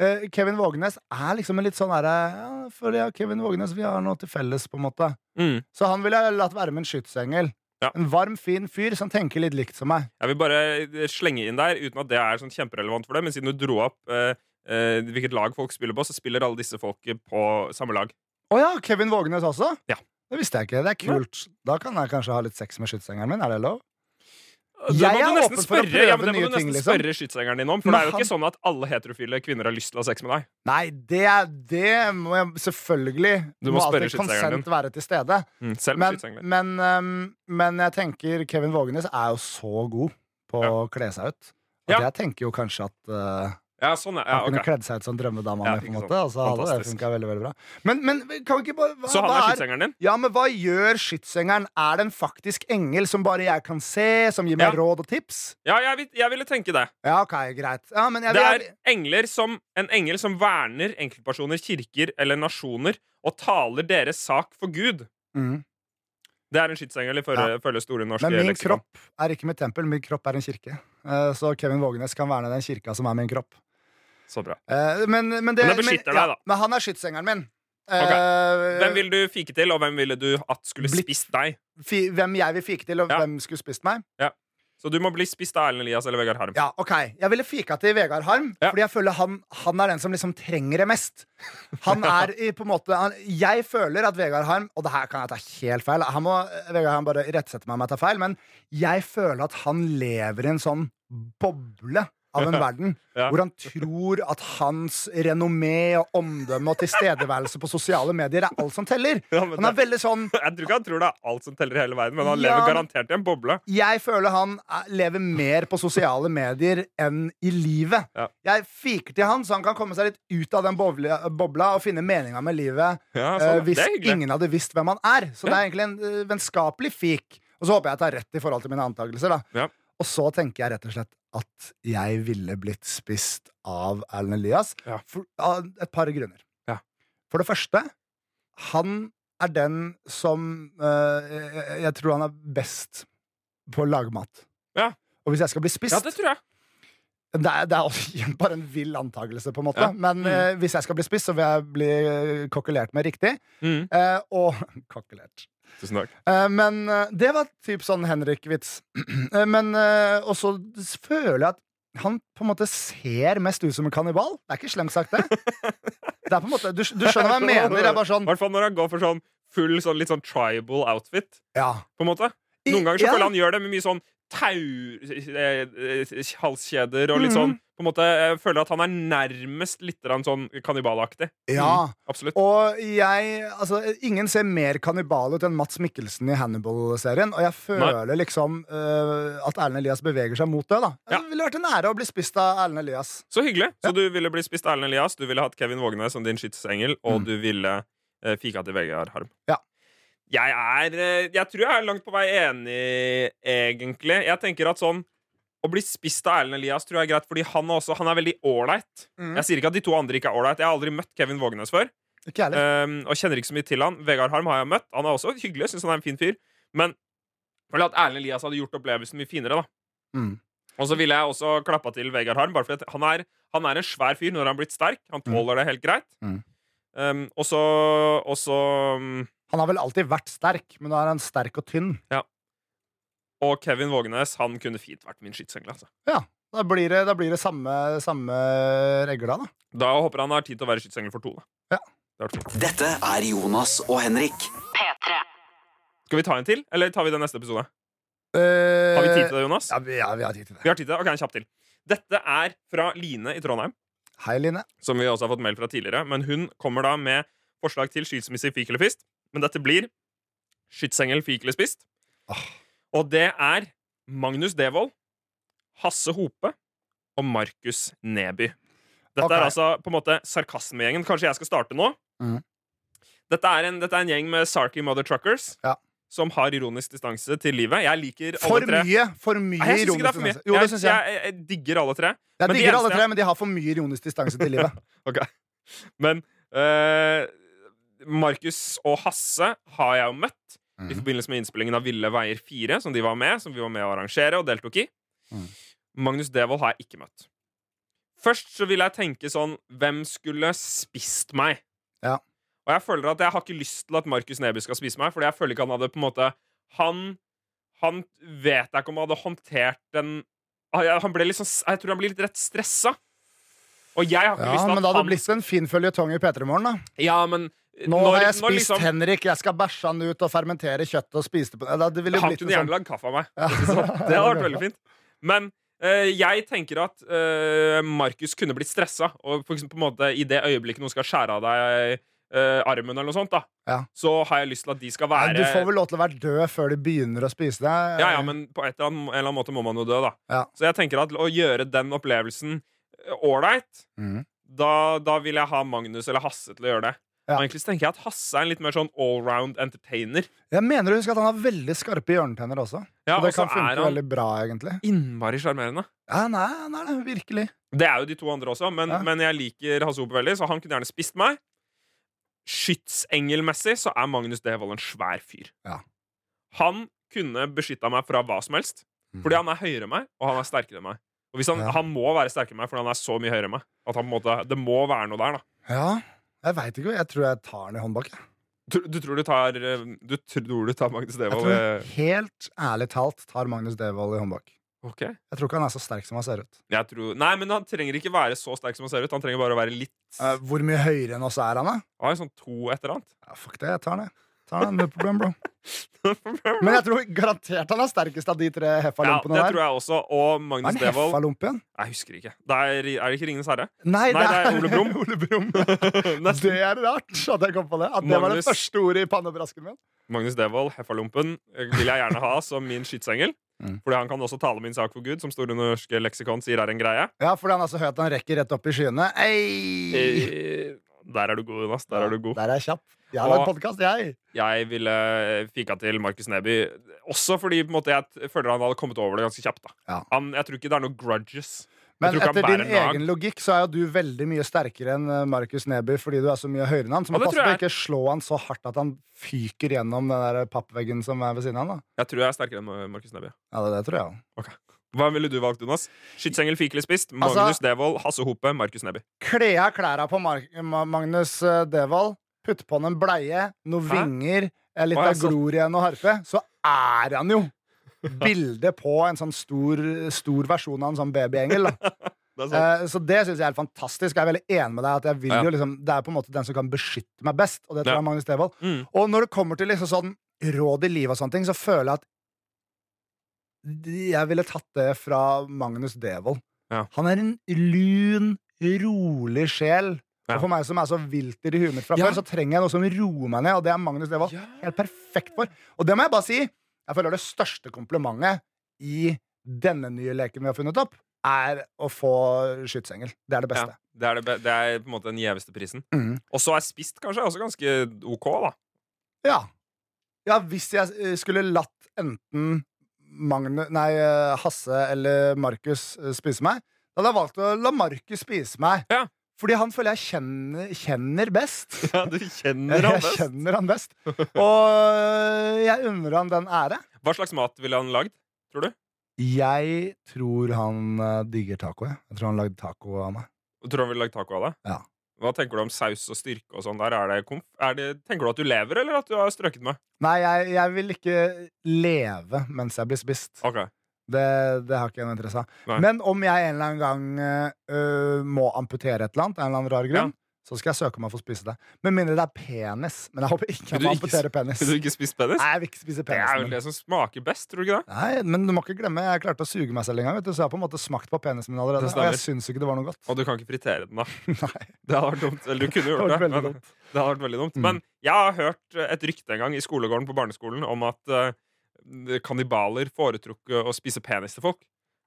C: Eh, Kevin Vågenes er liksom en litt sånn derre ja, For jeg og Kevin Vågenes, vi har noe til felles, på en måte.
D: Mm.
C: Så han ville jeg latt være min skytsengel.
D: Ja.
C: En varm, fin fyr som tenker litt likt som meg.
D: Jeg vil bare eh, slenge inn der, uten at det er sånn kjemperelevant for det, men siden du dro opp eh, eh, hvilket lag folk spiller på, så spiller alle disse folk på samme lag.
C: Å ja, Kevin Vågenes også?
D: Ja.
C: Det visste jeg ikke. Det er kult. Da kan jeg kanskje ha litt sex med skytsengelen min. Er det lov?
D: Det
C: Jeg
D: må
C: er
D: du nesten
C: åpen for å
D: spørre, ja,
C: prøve
D: men det må
C: nye
D: du nesten
C: ting, liksom.
D: spørre skytsengeren din om. For
C: Men
D: det er jo
C: han-
D: ikke sånn at alle heterofile kvinner har lyst til å ha sex med deg.
C: Nei, det, er- det må jeg selvfølgelig
D: Du må spørre
C: alltid
D: skytsengeren din.
C: konsent være til stede.
D: Mm. Selv med
C: Men,
D: skytsengler.
C: men, øhm, men jeg tenker Kevin Vågenes er jo så god på å kle seg ut. At
D: Ja.
C: Jeg tenker jo kanskje at øh,
D: Ja, sånn er,
C: han
D: ja,
C: kunne
D: ok.
C: kledd seg ut som drømmedama
D: Ja,
C: mi, på en
D: ikke
C: måte. Altså, hadde det
D: Fantastisk.
C: funket veldig, veldig bra. Men, men kan vi ikke bare hva,
D: Så han
C: hva
D: er
C: er
D: skytsengeren din?
C: Ja, men hva gjør skytsengelen? Er det en faktisk engel som bare jeg kan se, som gir
D: Ja.
C: meg råd og tips?
D: Ja, jeg, vil- jeg ville tenke det.
C: Ja, ok, greit. Ja, men jeg,
D: Det er
C: jeg,
D: engler som, en engel som verner enkeltpersoner, kirker eller nasjoner og taler deres sak for Gud.
C: mm.
D: Det er en skytsengel i følge, følge Store norske
C: Men min
D: leksikon.
C: kropp er ikke mitt tempel, min kropp er en kirke. Eh, Så Kevin Vågenes kan verne den kirka som er min kropp.
D: Så bra.
C: Eh, Men, men, det,
D: Men det beskytter deg, da.
C: Men han er skytsengelen min.
D: Ok.
C: Eh,
D: Hvem ville du fike til, og hvem ville du at skulle
C: Blitt.
D: spist deg?
C: fi, hvem jeg vil fike til, og
D: Ja.
C: hvem skulle spist meg?
D: Så du må bli spist av Erlend Elias eller Vegard Harm.
C: Ja, ok Jeg ville fika til Vegard Harm,
D: Ja.
C: fordi jeg føler han, han er den som liksom trenger det mest. Han er i, på en måte han, Jeg føler at Vegard Harm Og det her kan jeg ta helt feil. Han må, Vegard Harm bare irettesette meg om jeg tar feil, men jeg føler at han lever i en sånn boble av en verden
D: Ja.
C: hvor han tror at hans renommé og omdømme og tilstedeværelse på sosiale medier er alt som teller.
D: Ja, men
C: Han er
D: det-
C: veldig sånn
D: Jeg tror ikke han tror det er alt som teller i hele verden, men han
C: Ja,
D: lever
C: men-
D: garantert i en boble.
C: jeg føler han er- lever mer på sosiale medier enn i livet.
D: Ja.
C: Jeg fiker til han, så han kan komme seg litt ut av den bobla, bobla og finne meninga med livet
D: Ja,
C: eh,
D: sånn.
C: hvis
D: det er hyggelig.
C: ingen hadde visst hvem han er. Så det er egentlig en eh, vennskapelig fik. Og så håper jeg at jeg har rett i forhold til mine antakelser. Da.
D: Ja.
C: Og så tenker jeg rett og slett at jeg ville blitt spist av Erlend Elias
D: Ja.
C: for, av et par grunner.
D: Ja.
C: For det første, han er den som eh, jeg, jeg tror han er best på å lage mat.
D: Ja.
C: Og hvis jeg skal bli spist
D: Ja, det tror jeg.
C: det er, det er også igjen bare en vill antakelse, på en måte.
D: Ja.
C: Men
D: Mm.
C: eh, hvis jeg skal bli spist, så vil jeg bli eh, kokkelert med riktig.
D: Mm.
C: Eh, og kokkelert.
D: Tusen takk.
C: Eh, men eh, det var typ sånn Henrik-vits. Eh, men eh, Og så føler jeg at han på en måte ser mest ut som en kannibal. Det er ikke slemt sagt, det. det er på en måte, du, du skjønner hva jeg mener. Det er bare
D: I
C: sånn
D: hvert fall når han går for sånn full, sånn litt sånn tribal outfit,
C: ja.
D: på en måte.
C: I-
D: Noen ganger så
C: ja.
D: føler jeg han gjør det med mye sånn tau... eh, eh, Halskjeder
C: Mhm.
D: og litt sånn På en måte jeg føler at han er nærmest litt grann sånn kannibalaktig.
C: ja.
D: Absolutt.
C: Og jeg Altså, ingen ser mer kannibal ut enn Mats Mikkelsen i Hannibal-serien. Og jeg føler liksom øh, at Erlend Elias beveger seg mot det. da
D: Ja.
C: Det ville vært en ære å bli spist av Erlend Elias.
D: Så hyggelig. Så du ville bli spist av Erlend Elias, du ville hatt Kevin Vågenes som din skytsengel, og
C: Mm.
D: du ville eh, fika til Vegard Harm.
C: Ja.
D: Jeg er eh, Jeg tror jeg er langt på vei enig, egentlig. Jeg tenker at sånn å bli spist av Erlend Elias tror jeg er greit, fordi han, er også, han er veldig ålreit.
C: Mm.
D: Jeg sier ikke at de to andre ikke er ålreit. Jeg har aldri møtt Kevin Vågenes før. ehm,
C: Ikke jeg heller.
D: Um, og kjenner ikke så mye til han. Vegard Harm har jeg møtt. Han er også hyggelig. Synes han er en fin fyr. Men Fordi at Erlend Elias hadde gjort opplevelsen mye finere. da
C: Mm.
D: Og så ville jeg også klappa til Vegard Harm, bare fordi at han er, han er en svær fyr når han har blitt sterk. Han tåler det helt greit.
C: Mm.
D: Um, og så Og så um,
C: Han har vel alltid vært sterk, men nå er han sterk og tynn.
D: Og Kevin Vågenes, han kunne fint vært min skytsengel. Altså.
C: Da blir det, da blir det samme, samme regla, da.
D: Da håper jeg han har tid til å være skytsengel for to.
C: Ja.
D: Da. Det hadde vært fint.
A: Dette er Jonas og Henrik.
B: P3.
D: Skal vi ta en til, eller tar vi den neste episode?
C: Eh,
D: Har vi tid til det, Jonas?
C: Ja, vi, ja, vi har tid til det.
D: Vi har tid til det. Ok, en kjapp til. Dette er fra Line i Trondheim.
C: Hei, Line.
D: som vi også har fått mail fra tidligere. Men hun kommer da med forslag til skilsmisse i fik eller fist. Men dette blir skytsengel, fik eller spist.
C: Ah.
D: Og det er Magnus Devold, Hasse Hope og Markus Neby. Dette
C: Ok.
D: er altså på en måte sarkasmegjengen. Kanskje jeg skal starte nå?
C: Mhm.
D: Dette, er en, dette er en gjeng med sarky mother truckers
C: Ja.
D: som har ironisk distanse til livet. Jeg liker
C: For
D: alle tre.
C: mye for mye
D: Nei, jeg syns ikke det er
C: ironisk
D: for mye.
C: distanse. Jo, det
D: jeg,
C: syns jeg.
D: jeg, jeg digger alle tre.
C: Jeg
D: men de
C: digger alle
D: eneste-
C: tre, men de har for mye ironisk distanse til livet.
D: Men eh, Markus og Hasse har jeg jo møtt i
C: Mhm.
D: forbindelse med innspillingen av Ville veier 4, som de var med Som vi var med å arrangere og deltok i.
C: Mhm.
D: Magnus Devold har jeg ikke møtt. Først så ville jeg tenke sånn Hvem skulle spist meg?
C: Ja.
D: Og jeg føler at jeg har ikke lyst til at Markus Neby skal spise meg, Fordi jeg føler ikke han hadde på en måte Han, han vet jeg ikke om han hadde håndtert den han ble litt sånn, Jeg tror han blir litt rett stressa. Og jeg har ikke
C: Ja,
D: lyst til
C: men
D: at
C: det hadde
D: han
C: blitt en fin føljetong i P3 Morgen, da.
D: ja, men
C: Nå har jeg spist
D: liksom,
C: Henrik, jeg skal bæsje han ut og fermentere kjøttet og spise det på Ja, Det ville jo
D: Han
C: blitt
D: kunne
C: en
D: gjerne
C: sånn
D: lagd kaffe av meg.
C: Ja.
D: Det hadde vært veldig fint. Men eh, jeg tenker at eh, Markus kunne blitt stressa. Og for eksempel, på en måte, i det øyeblikket noen skal skjære av deg eh, armen, eller noe sånt, da,
C: Ja.
D: så har jeg lyst til at de skal
C: Nei,
D: være
C: Du får vel lov til å være død før de begynner å spise det.
D: Ja, ja, men på et eller annet, en eller annen måte må man jo dø, da.
C: Ja.
D: Så jeg tenker at å gjøre den opplevelsen ålreit,
C: Mhm.
D: da, da vil jeg ha Magnus eller Hasse til å gjøre det.
C: Ja.
D: Og egentlig så tenker jeg at Hasse er en litt mer sånn allround entertainer.
C: Jeg mener å huske at han har veldig skarpe hjørnetenner også.
D: Ja,
C: så det
D: og så
C: kan funke
D: er han
C: veldig bra, egentlig.
D: innmari sjarmerende.
C: Ja, nei, han er det. Virkelig.
D: Det er jo de to andre også, men,
C: Ja.
D: men jeg liker Hasse Hope veldig, så han kunne gjerne spist meg. Skytsengelmessig så er Magnus Devold en svær fyr.
C: Ja.
D: Han kunne beskytta meg fra hva som helst,
C: Mm.
D: fordi han er høyere enn meg, og han er sterkere enn meg. Og hvis han,
C: Ja.
D: han må være sterkere enn meg, fordi han er så mye høyere enn meg. At han på en måte, det må være noe der, da.
C: Ja, jeg veit ikke. Jeg tror jeg tar han i håndbak. jeg.
D: Du, du tror du tar eh, Du tror du tar Magnus
C: Jeg
D: Devold
C: tror
D: eh,
C: helt ærlig talt tar Magnus Devold i håndbak.
D: Ok.
C: Jeg tror ikke han er så sterk som han ser ut.
D: Jeg tror, nei, men han trenger ikke være så sterk som han ser ut. Han trenger bare å være litt
C: Eh, hvor mye høyere enn oss er han, da?
D: Han er sånn to et eller
C: Ja, fuck det, jeg tar han, jeg. Tar han, no problem, bro.
D: annet.
C: Men jeg tror garantert han er sterkest av de tre
D: Ja,
C: heffalompene
D: det
C: der.
D: tror jeg også. Og Magnus
C: Er han
D: Devold
C: heffalomp igjen?
D: Jeg husker ikke. Det er, er det ikke Ringenes herre?
C: Nei,
D: Nei, det er Ole Brumm.
C: Ole Brumm.
D: Nesten.
C: Det er rart at jeg kom på det. At det var det
D: Magnus.
C: første ordet i pannebrasken min.
D: Magnus Devold, Heffalumpen, eh, vil jeg gjerne ha som min skytsengel.
C: Mm.
D: Fordi han kan også tale min sak for Gud, som Store norske leksikon sier er en greie.
C: Ja, fordi han er så høy at han rekker rett opp i skyene. Ei!
D: Eh, Der er du god, Jonas. Der er du god.
C: Der er jeg kjapp. Jeg har
D: Og-
C: en podkast, jeg.
D: Jeg ville fika til Markus Neby, også fordi på en måte, jeg t- føler han hadde kommet over det ganske kjapt. da.
C: Ja.
D: Han, jeg tror ikke det er noe grudges.
C: Men
D: tror ikke han
C: etter din
D: bærer nag.
C: egen logikk så er jo du veldig mye sterkere enn eh, Markus Neby fordi du er så mye høyere enn han. Så
D: Ja,
C: man
D: det
C: passer
D: tror
C: på å
D: jeg.
C: ikke slå han så hardt at han fyker gjennom den der pappveggen som er ved siden av han. da
D: Jeg tror jeg er sterkere enn eh, Markus Neby.
C: Ja, det, det tror jeg.
D: Hva ville du valgt, Jonas? Skytsengel, fikelig spist,
C: Altså-
D: Magnus Devold, Hasse Hope, Markus Neby.
C: Kle av klærne på Mar Ma Magnus eh, Devold, putte på han en bleie, noen
D: Hæ?
C: vinger, eh, litt
D: Å, ja,
C: av
D: så-
C: glor igjen og harpe, så er han jo bildet på en sånn stor, stor versjon av en sånn babyengel. da.
D: Det er sant.
C: Eh, så det syns jeg er helt fantastisk. Jeg er veldig enig med deg at jeg vil
D: Ja.
C: jo liksom, Det er på en måte den som kan beskytte meg best, og det tror
D: Ja.
C: jeg er Magnus Devold.
D: Mm.
C: Og når det kommer til liksom sånn råd i livet og sånne ting, så føler jeg at de- jeg ville tatt det fra Magnus Devold.
D: Ja.
C: Han er en lun, rolig sjel.
D: Ja.
C: Og for meg som er så vilter i huet mitt fra
D: Ja.
C: før, så trenger jeg noe som roer meg ned, og det er Magnus Devold
D: Ja.
C: helt perfekt for. Og det må jeg bare si, jeg føler det største komplimentet i denne nye leken vi har funnet opp, er å få skytsengel. Det er det beste.
D: Ja, det, er det, be det er på en måte den gjeveste prisen.
C: Mhm.
D: Og så er spist kanskje også ganske OK, da.
C: Ja. ja, hvis jeg eh, skulle latt enten Magne, nei, eh, Hasse eller Markus eh, spise meg, da hadde jeg valgt å la Markus spise meg.
D: Ja.
C: Fordi han føler jeg kjenner, kjenner best.
D: Ja, du kjenner han
C: Jeg
D: best.
C: kjenner han best. Og jeg unner han den ære.
D: Hva slags mat ville han lagd, tror du?
C: Jeg tror han eh, digger taco. Jeg, jeg tror han lagde taco av meg.
D: Tror du han ville lagd taco av deg?
C: Ja.
D: Hva tenker du om saus og styrke og sånn der? Er det komf er det, tenker du at du lever, eller at du har strøket med?
C: Nei, jeg, jeg vil ikke leve mens jeg blir spist.
D: Ok.
C: Det, det har ikke jeg noe interesse av.
D: Nei.
C: Men om jeg en eller annen gang eh, øh, må amputere et eller annet, av en eller annen rar grunn, så skal jeg søke om jeg får spise det. Med mindre det er penis. Men jeg håper ikke
D: Vil
C: jeg
D: du
C: må
D: ikke
C: amputere penis.
D: Vil du ikke spise penis?
C: Nei, jeg vil ikke spise
D: Det er
C: penis.
D: vel
C: Men...
D: det som smaker best, tror du ikke det?
C: Nei, men du må ikke glemme, jeg klarte å suge meg selv en gang, vet du, så jeg har på en måte smakt på penisen min allerede.
D: Det
C: Og
D: stemmer.
C: jeg syns ikke det var noe godt.
D: Og du kan ikke fritere den, da.
C: Nei.
D: Det hadde vært dumt. Eller du kunne gjort
C: Det hadde vært
D: det. men
C: veldig
D: Det hadde vært veldig dumt.
C: Mm.
D: Men jeg har hørt et rykte en gang i skolegården på barneskolen om at eh, kannibaler foretrukk å spise penis til folk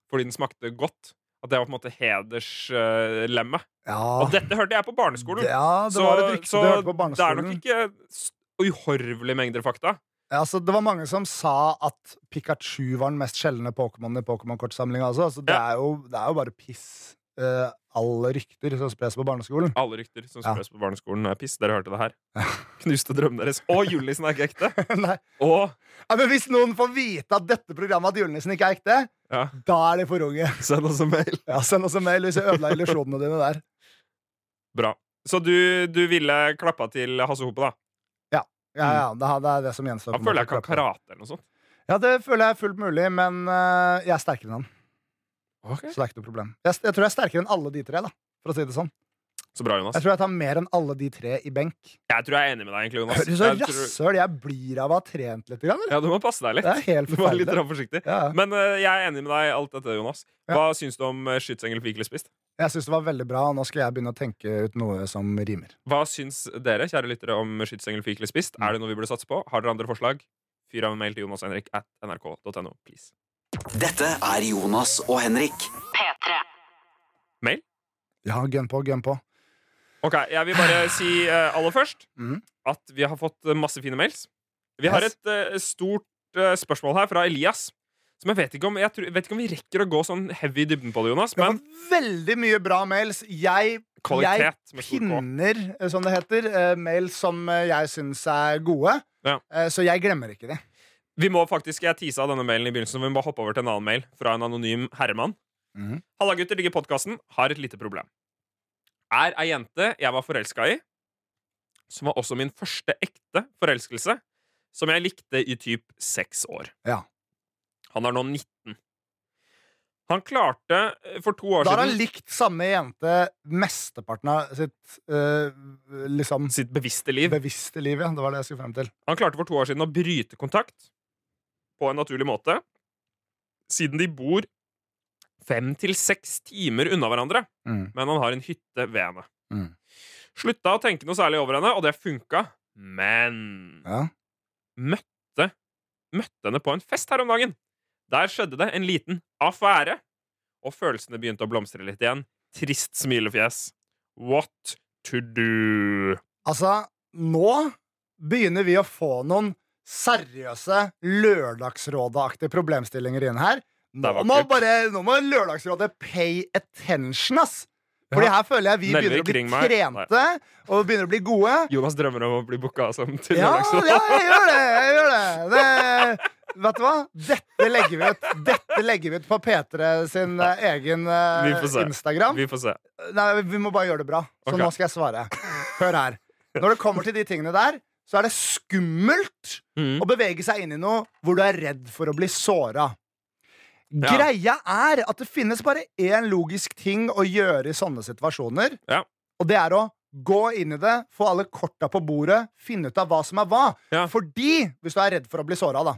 D: fordi den smakte godt. At det var på en måte hederslemmet.
C: Ja,
D: og dette hørte jeg på barneskolen!
C: ja Ah. det var et rykte du hørte på
D: det er nok
C: barneskolen.
D: ikke s- uhorvelige mengder fakta.
C: Ja, så det var mange som sa at Pikachu var den mest sjeldne Pokémonen i Pokémon-kortsamlinga. Altså. Så det,
D: Ja.
C: er jo, det er jo bare piss. eh, alle rykter som spres på barneskolen.
D: Alle rykter som
C: Ja.
D: spres på barneskolen, er piss. Dere hørte det her. Knuste drømmen deres. Og julenissen er ikke ekte!
C: Nei.
D: Og
C: Ja, men hvis noen får vite at dette programmet at julenissen ikke er ekte,
D: Ja.
C: da er de for unge.
D: send oss en mail.
C: Ja, Send oss en mail hvis jeg ødela illusjonene dine der.
D: Bra. Så du, du ville klappa til Hasse Hope, da?
C: Ja, ja, det er- det er det som gjenstår. på
D: Han
C: en
D: Mm. føler jeg
C: måte å
D: kan
C: klappe.
D: karate eller noe sånt.
C: Ja, det føler jeg er fullt mulig, men eh, jeg er sterkere enn han. Så
D: Okay.
C: det er ikke noe problem. Jeg, jeg tror jeg er sterkere enn alle de tre, da. For å si det sånn.
D: Så bra, Jonas.
C: Jeg tror jeg tar mer enn alle de tre i benk.
D: Jeg tror jeg er enig med deg, egentlig, Jonas.
C: Høres så
D: Jeg tror-
C: rasshøl jeg blir av å ha trent litt. Grann, eller?
D: Ja, du må passe deg litt.
C: Det er helt
D: Du må være litt
C: forferdelig.
D: rann forsiktig.
C: Ja, ja.
D: Men eh, jeg er enig med deg i alt dette, Jonas. Hva syns du om uh, skytsengel fikk spist?
C: Jeg syns det var veldig bra, og nå skal jeg begynne å tenke ut noe som rimer.
D: Hva syns dere, kjære lyttere, om skytsengel fikk spist?
C: Mm.
D: Er det noe vi burde satse på? Har dere andre forslag? Fyr av en mail til jonashenrik at nrk.no, please.
A: Dette er Jonas og Henrik.
C: Ja, gønn på, gønn på.
D: Ok, Jeg vil bare si eh, aller først
C: Mhm.
D: at vi har fått eh, masse fine mails. Vi har
C: Yes.
D: et eh, stort eh, spørsmål her fra Elias. Som jeg vet ikke om, jeg tror, vet ikke om vi rekker å gå sånn heavy i dybden på det, Jonas.
C: Det var
D: Men
C: veldig mye bra mails. Jeg
D: kvalitet med stor K.
C: pinner, eh, som det heter, eh, mails som eh, jeg syns er gode.
D: Ja.
C: Eh, Så jeg glemmer ikke de.
D: Vi må faktisk, Jeg tisa denne mailen i begynnelsen, men vi må hoppe over til en annen mail fra en anonym herremann.
C: Mhm.
D: Halla, gutter, digger podkasten. Har et lite problem. Er ei jente jeg var forelska i, som var også min første ekte forelskelse, som jeg likte i typ seks år.
C: Ja.
D: Han er nå 19. Han klarte eh, for to år
C: Da har han
D: siden
C: likt samme jente mesteparten av sitt eh, liksom
D: sitt bevisste liv.
C: bevisste liv. Ja. Det var det jeg skulle frem til.
D: Han klarte for to år siden å bryte kontakt på en naturlig måte, siden de bor fem til seks timer unna hverandre, men han har en hytte ved henne.
C: Mm.
D: Slutta å tenke noe særlig over henne, og det funka, men
C: Ja.
D: møtte, møtte henne på en fest her om dagen. Der skjedde det en liten affære, og følelsene begynte å blomstre litt igjen. Trist smilefjes. What to do?
C: Altså, nå begynner vi å få noen seriøse lørdagsrådeaktige problemstillinger inn her. Nå
D: Det var
C: må,
D: kult.
C: bare, nå må Lørdagsrådet pay attention, ass! Fordi
D: Ja.
C: her føler jeg vi begynner
D: Nelvik,
C: å bli
D: ring meg.
C: trente og begynner å bli gode.
D: Jonas drømmer om å bli booka som til
C: Ja,
D: lørdagsråd.
C: ja, jeg gjør det! Jeg gjør det. det vet du hva? Dette legger vi ut Dette legger vi ut på P3 sin eh, egen eh,
D: Vi får se.
C: Instagram.
D: Vi får se.
C: Nei, vi må bare gjøre det bra. Så
D: Ok.
C: nå skal jeg svare. Hør her. Når det kommer til de tingene der, så er det skummelt
D: Mm.
C: å bevege seg inn i noe hvor du er redd for å bli såra.
D: Ja.
C: Greia er at det finnes bare én logisk ting å gjøre i sånne situasjoner.
D: Ja.
C: Og det er å gå inn i det, få alle korta på bordet, finne ut av hva som er hva.
D: Ja.
C: Fordi, hvis du er redd for å bli såra, da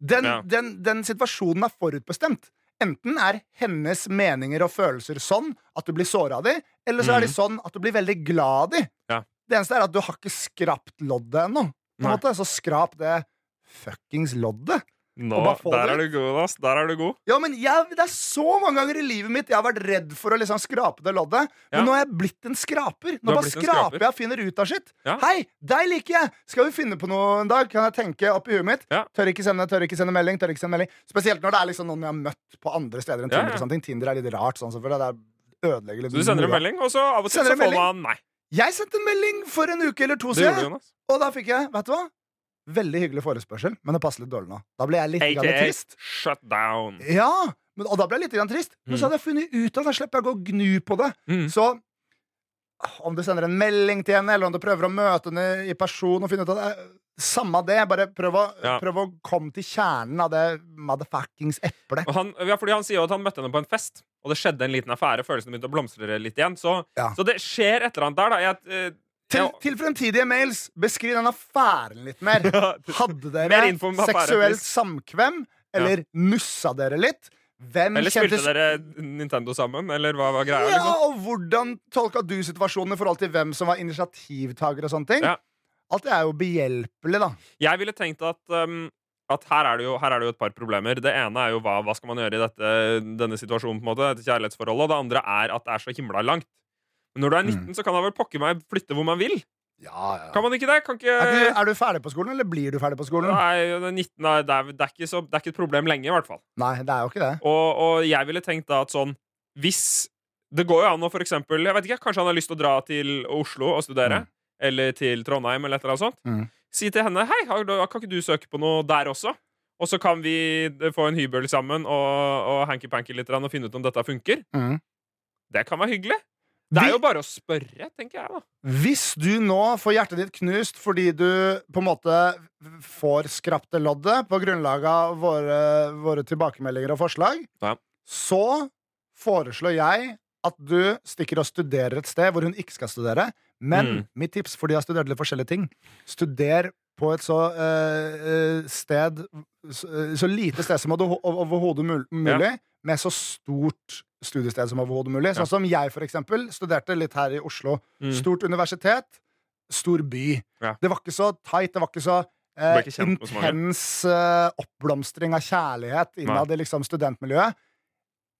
C: den,
D: Ja.
C: den, den situasjonen er forutbestemt. Enten er hennes meninger og følelser sånn at du blir såra av dem, eller så er de sånn at du blir veldig glad av dem.
D: Mhm. Ja.
C: Det eneste er at du har ikke skrapt loddet ennå. på en
D: Nei.
C: måte. Så skrap det fuckings loddet.
D: Nå,
C: Og bare få
D: der
C: det
D: er du god, ass. Der er du god.
C: Ja, men jeg, Det er så mange ganger i livet mitt jeg har vært redd for å liksom skrape det loddet. Men
D: Ja.
C: nå er jeg blitt en skraper.
D: Du
C: Nå
D: har
C: bare
D: blitt en
C: skraper,
D: skraper.
C: jeg og finner ut av sitt.
D: Ja.
C: Hei, deg liker jeg! Skal vi finne på noe en dag? Kan jeg tenke oppi huet mitt?
D: Ja.
C: Tør ikke sende, tør ikke sende melding. tør ikke sende melding Spesielt når det er liksom noen jeg har møtt på andre steder enn
D: Ja,
C: Tinder.
D: ja.
C: og sånne ting Tinder er litt rart, sånn selvfølgelig. Det er ødelegger litt
D: Så du sender en
C: mora.
D: melding, og så av og til
C: Sender
D: så
C: en
D: får man nei.
C: Jeg sendte en melding for en uke eller to
D: Det gjorde du,
C: siden,
D: Jonas.
C: og da fikk jeg Vet du hva? Veldig hyggelig forespørsel, men det passer litt dårlig nå. Da ble jeg litt grann
D: AKA
C: trist.
D: shut down.
C: Ja, men, og da ble jeg litt grann trist. Men så hadde jeg funnet ut av det. Da slipper jeg å gå og gnu på det.
D: Mm.
C: Så ah, om du sender en melding til henne, eller om du prøver å møte henne i person og finne ut av det eh, Samme det, bare prøv å,
D: Ja.
C: prøv å komme til kjernen av det motherfuckings eplet.
D: Og han, ja, fordi han sier jo at han møtte henne på en fest, og det skjedde en liten affære. Følelsene begynte å blomstre litt igjen. Så,
C: Ja.
D: så det skjer et eller annet der, da. Jeg,
C: Til,
D: eh,
C: til fremtidige mails, beskriv den affæren litt mer.
D: jeg,
C: Hadde
D: Mer
C: dere
D: info om affæren,
C: seksuelt
D: please.
C: samkvem, eller nussa dere litt? Hvem
D: eller spilte
C: kjentes
D: dere Nintendo sammen, eller hva var greia?
C: Ja,
D: Liksom?
C: og hvordan tolka du situasjonen i forhold til hvem som var initiativtaker og sånne ting?
D: Ja.
C: Alt det er jo behjelpelig, da.
D: Jeg ville tenkt at, um, at her, er det jo, her er det jo et par problemer. Det ene er jo hva, hva skal man gjøre i dette, denne situasjonen, på en måte, dette kjærlighetsforholdet. Og det andre er at det er så himla langt. Men når du er 19, så kan da vel pokker meg flytte hvor man vil?
C: Ja, ja.
D: Kan man ikke det? Kan
C: Er du,
D: ikke
C: er du ferdig på skolen, eller blir du ferdig på skolen?
D: Eh. Nei, det er 19 er, det, er, det, er ikke så, det er ikke et problem lenge, i hvert fall.
C: Nei, det er jo ikke det.
D: Og, og jeg ville tenkt da at sånn Hvis Det går jo an å for eksempel Jeg vet ikke, kanskje han har lyst til å dra til Oslo og studere.
C: Mm.
D: Eller til Trondheim, eller et eller annet sånt.
C: Mm.
D: Si til henne Hei, har du- kan ikke du søke på noe der også? Og så kan vi eh, få en hybel sammen og, og hanky-panky litt grann og finne ut om dette funker.
C: Mm.
D: Det kan være hyggelig. Det
C: Vi-
D: er jo bare å spørre, tenker jeg, da.
C: Hvis du nå får hjertet ditt knust fordi du på en måte får skrapte loddet på grunnlag av våre, våre tilbakemeldinger og forslag,
D: Ja.
C: så foreslår jeg at du stikker og studerer et sted hvor hun ikke skal studere. Men
D: Mm.
C: mitt tips, for de har studert litt forskjellige ting Studer på et så eh, eh, sted Så, så lite sted som overho- overhodet mul- mulig, med så stort studiested som overhodet mulig.
D: Ja.
C: Sånn som jeg, for eksempel, studerte litt her i Oslo.
D: Mm.
C: Stort universitet, stor by.
D: Ja.
C: Det var ikke så tight, det var ikke så
D: ble
C: eh,
D: ikke kjent med så mange.
C: intens eh, oppblomstring av kjærlighet innad i liksom, studentmiljøet.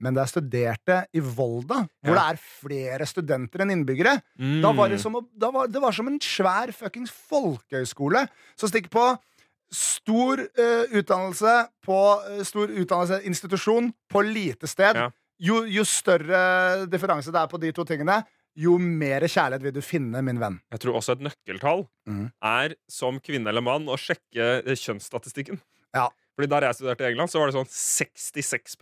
C: Men da jeg studerte i Volda, hvor det
D: Ja.
C: er flere studenter enn innbyggere,
D: Mm.
C: da var det som, å- da var, det var som en svær fuckings folkehøyskole som stikker på stor eh, utdannelse på eh, stor utdannelseinstitusjon på lite sted.
D: Ja.
C: Jo, jo større differanse det er på de to tingene, jo mer kjærlighet vil du finne, min venn.
D: Jeg tror også et nøkkeltall
C: Mhm.
D: er som kvinne eller mann å sjekke eh, kjønnsstatistikken.
C: Ja.
D: Fordi Der jeg studerte i England, så var det sånn 66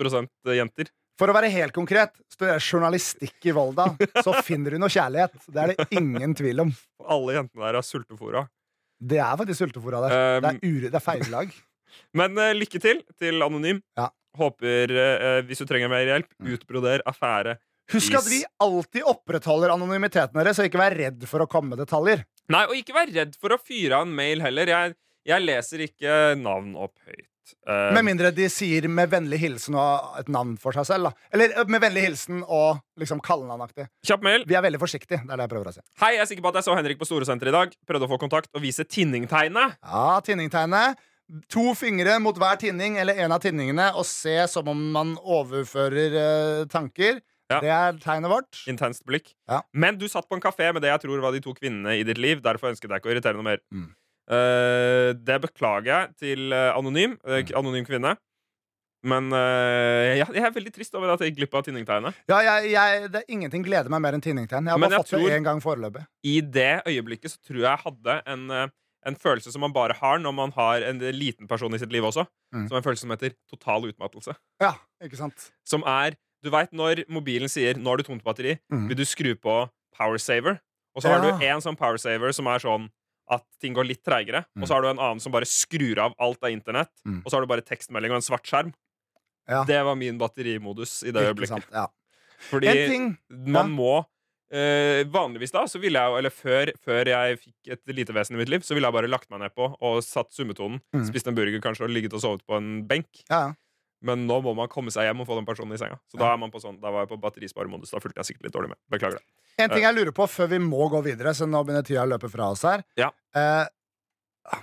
D: jenter.
C: For å være helt konkret, studerer jeg journalistikk i Volda, så finner du noe kjærlighet. Det er det ingen tvil om.
D: Og alle jentene der er sultefora.
C: Det er faktisk sultefòra der.
D: Um,
C: Det er, ure, det er feilag.
D: Men eh, lykke til til Anonym.
C: Ja. Mm.
D: Håper, eh, hvis du trenger mer hjelp, utbroder affære.
C: Husk at vi alltid opprettholder anonymiteten deres, så ikke vær redd for å komme med detaljer.
D: Nei, og ikke vær redd for å fyre av en mail heller. Jeg, jeg leser ikke navn opp høyt. Eh,
C: Med mindre de sier med vennlig hilsen og et navn for seg selv. Da. Eller eh, med vennlig hilsen og liksom kallenavnaktig.
D: Ehm, kjapp mail.
C: Vi er veldig forsiktige. Det er det jeg prøver å si.
D: Hei, jeg er sikker på at jeg så Henrik på Storesenteret i dag. Prøvde å få kontakt og vise tinningtegnet.
C: Ja, tinningtegnet. To fingre mot hver tinning eller en av tinningene og se som om man overfører eh, tanker.
D: Ja.
C: Det er tegnet vårt.
D: Intenst blikk.
C: Ja.
D: Men du satt på en kafé med det jeg tror var de to kvinnene i ditt liv. Derfor ønsket jeg ikke å irritere noe mer.
C: Mm.
D: Eh, det beklager jeg til eh, anonym, eh,
C: Mm.
D: k- anonym kvinne. Men eh, jeg, jeg er veldig trist over at jeg gikk glipp av tinningtegnet.
C: Ja, jeg, jeg, det er Ingenting gleder meg mer enn tinningtegn. Jeg har
D: Men
C: bare
D: jeg
C: fått
D: tror-
C: det én gang foreløpig.
D: I det øyeblikket så tror jeg jeg hadde en, eh, en følelse som man bare har når man har en liten person i sitt liv også.
C: Mm.
D: Som er en følelse som heter total utmattelse.
C: Ja, ikke sant?
D: Som er Du veit når mobilen sier 'nå har du tomt batteri',
C: Mm.
D: vil du skru på power saver. Og så har
C: Ja.
D: du en sånn power saver som er sånn at ting går litt treigere.
C: Mm.
D: Og så har du en annen som bare skrur av alt av internett.
C: Mm.
D: Og så har du bare tekstmelding og en svart skjerm.
C: Ja.
D: Det var min batterimodus i det
C: Ikke
D: øyeblikket.
C: sant, Ja.
D: Fordi
C: En ting Ja.
D: man må eh, vanligvis da, så ville jeg jo, eller før, før jeg fikk et lite vesen i mitt liv, så ville jeg bare lagt meg ned på og satt summetonen.
C: Mm.
D: Spist en burger kanskje og ligget og sovet på en benk.
C: ja, ja.
D: Men nå må man komme seg hjem og få den personen i senga. Så da, er man på sånn, da var jeg på batterisparemodus. Da fulgte jeg sikkert litt dårlig med. Beklager det.
C: En ting jeg lurer på før vi må gå videre, så nå begynner tida å løpe fra oss her.
D: Ja.
C: Eh,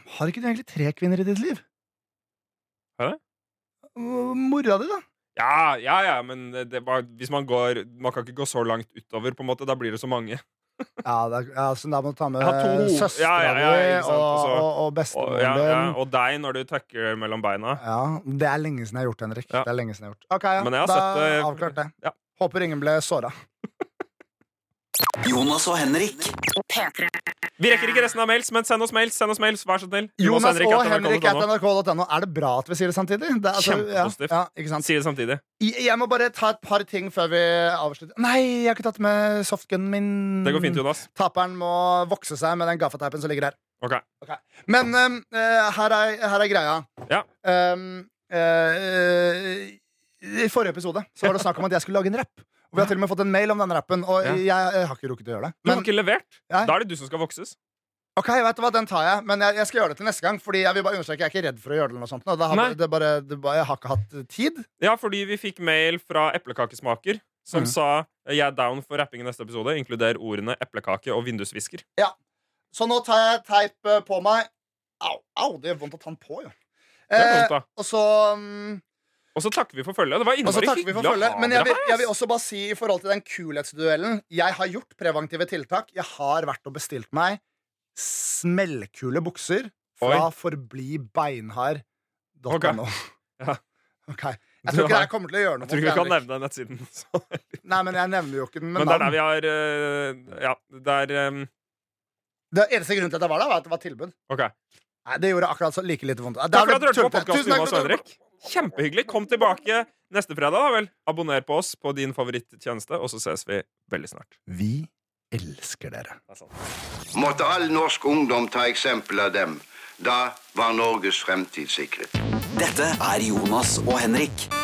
C: har ikke du egentlig tre kvinner i ditt liv?
D: Har jeg
C: M- Mora di, da.
D: Ja, ja, ja, men det var, hvis man går Man kan ikke gå så langt utover, på en måte. Da blir det så mange.
C: Ja, det er, ja, så da må du ta med
D: Jeg har to-
C: søstera
D: ja, ja, ja, ikke
C: di
D: sant,
C: og,
D: altså.
C: og, og
D: Og,
C: bestemoren
D: ja, ja,
C: din.
D: og deg når du tucker mellom beina.
C: Ja, det er lenge siden jeg har gjort det, Henrik.
D: Ja.
C: Det er lenge siden jeg har gjort. Ok, ja,
D: Men jeg har
C: Da
D: sett det-
C: avklart det.
D: eh, Ja.
C: Håper ingen ble såra.
A: Jonas og Henrik.
B: P3.
D: Vi rekker ikke resten av mails, men send oss mails. send oss mails, Vær så snill.
C: Jonas og Henrik at
D: nrk.no.
C: nrk.no. Er det bra at vi sier det samtidig? Det er altså,
D: Kjempepositivt.
C: Ja, ja, ikke sant?
D: Si det samtidig.
C: I- Jeg må bare ta et par ting før vi avslutter. Nei, jeg har ikke tatt med softgunen min.
D: Det går fint, Jonas.
C: Taperen må vokse seg med den gaffateipen som ligger her.
D: Ok.
C: Men um, eh, her, er, her er greia.
D: Ja.
C: Um, eh, I forrige episode så var det snakk om at jeg skulle lage en rapp. Og vi har til og med fått en mail om den rappen, og
D: Ja.
C: jeg, jeg har ikke rukket å gjøre det.
D: Du har
C: Men-
D: ikke levert.
C: Nei.
D: Da er det du som skal vokses.
C: Ok, vet du hva, Den tar jeg, men jeg, jeg skal gjøre det til neste gang. Fordi Jeg vil bare understreke, jeg er ikke redd for å gjøre det. eller noe sånt nå. det har,
D: Nei.
C: det er bare, det er bare, Jeg har ikke hatt tid.
D: Ja, fordi vi fikk mail fra eplekakesmaker som
C: Mhm.
D: sa jeg er down for rapping i neste episode. Inkluder ordene eplekake og vindusvisker.
C: Eh, Så nå tar jeg teip eh, på meg. Au, au, det gjør vondt å ta den på, jo.
D: Det er vondt,
C: Eh,
D: da.
C: og så mm,
D: Og så takker vi for følget. Det var
C: Og så
D: innmari
C: takker vi
D: hyggelig
C: for
D: å
C: følget.
D: ha
C: Men jeg
D: dere
C: vil,
D: her.
C: jeg vil også bare si i forhold til den kulhetsduellen Jeg har gjort preventive tiltak. Jeg har vært og bestilt meg smellkule bukser fra
D: Oi.
C: forblibeinhard.no.
D: Ja.
C: Ok.
D: Du
C: Jeg tror ikke
D: har-
C: det her kommer til å gjøre noe.
D: Jeg tror ikke vi
C: mot
D: kan
C: Henrik.
D: nevne den nettsiden. Så.
C: Nei, men jeg nevner jo ikke den.
D: Men,
C: Men,
D: det er
C: navn.
D: der vi har eh, Ja, det er eh,
C: Det eneste grunnen til at jeg var der, var at det var tilbud.
D: OK.
C: Nei, Det gjorde akkurat så like lite vondt. Der
D: Takk for
C: ble
D: at du hørte på
C: tullete.
D: podkasten,
C: Tusen takk
D: Jonas
C: for at
D: og
C: du-
D: Henrik. Kjempehyggelig. Kom tilbake neste fredag, da vel. Abonner på oss på din favorittjeneste, og så ses vi veldig snart.
C: Vi elsker dere.
E: måtte all norsk ungdom ta eksempel av dem. Da var Norges fremtid sikret.
A: Dette er Jonas og Henrik.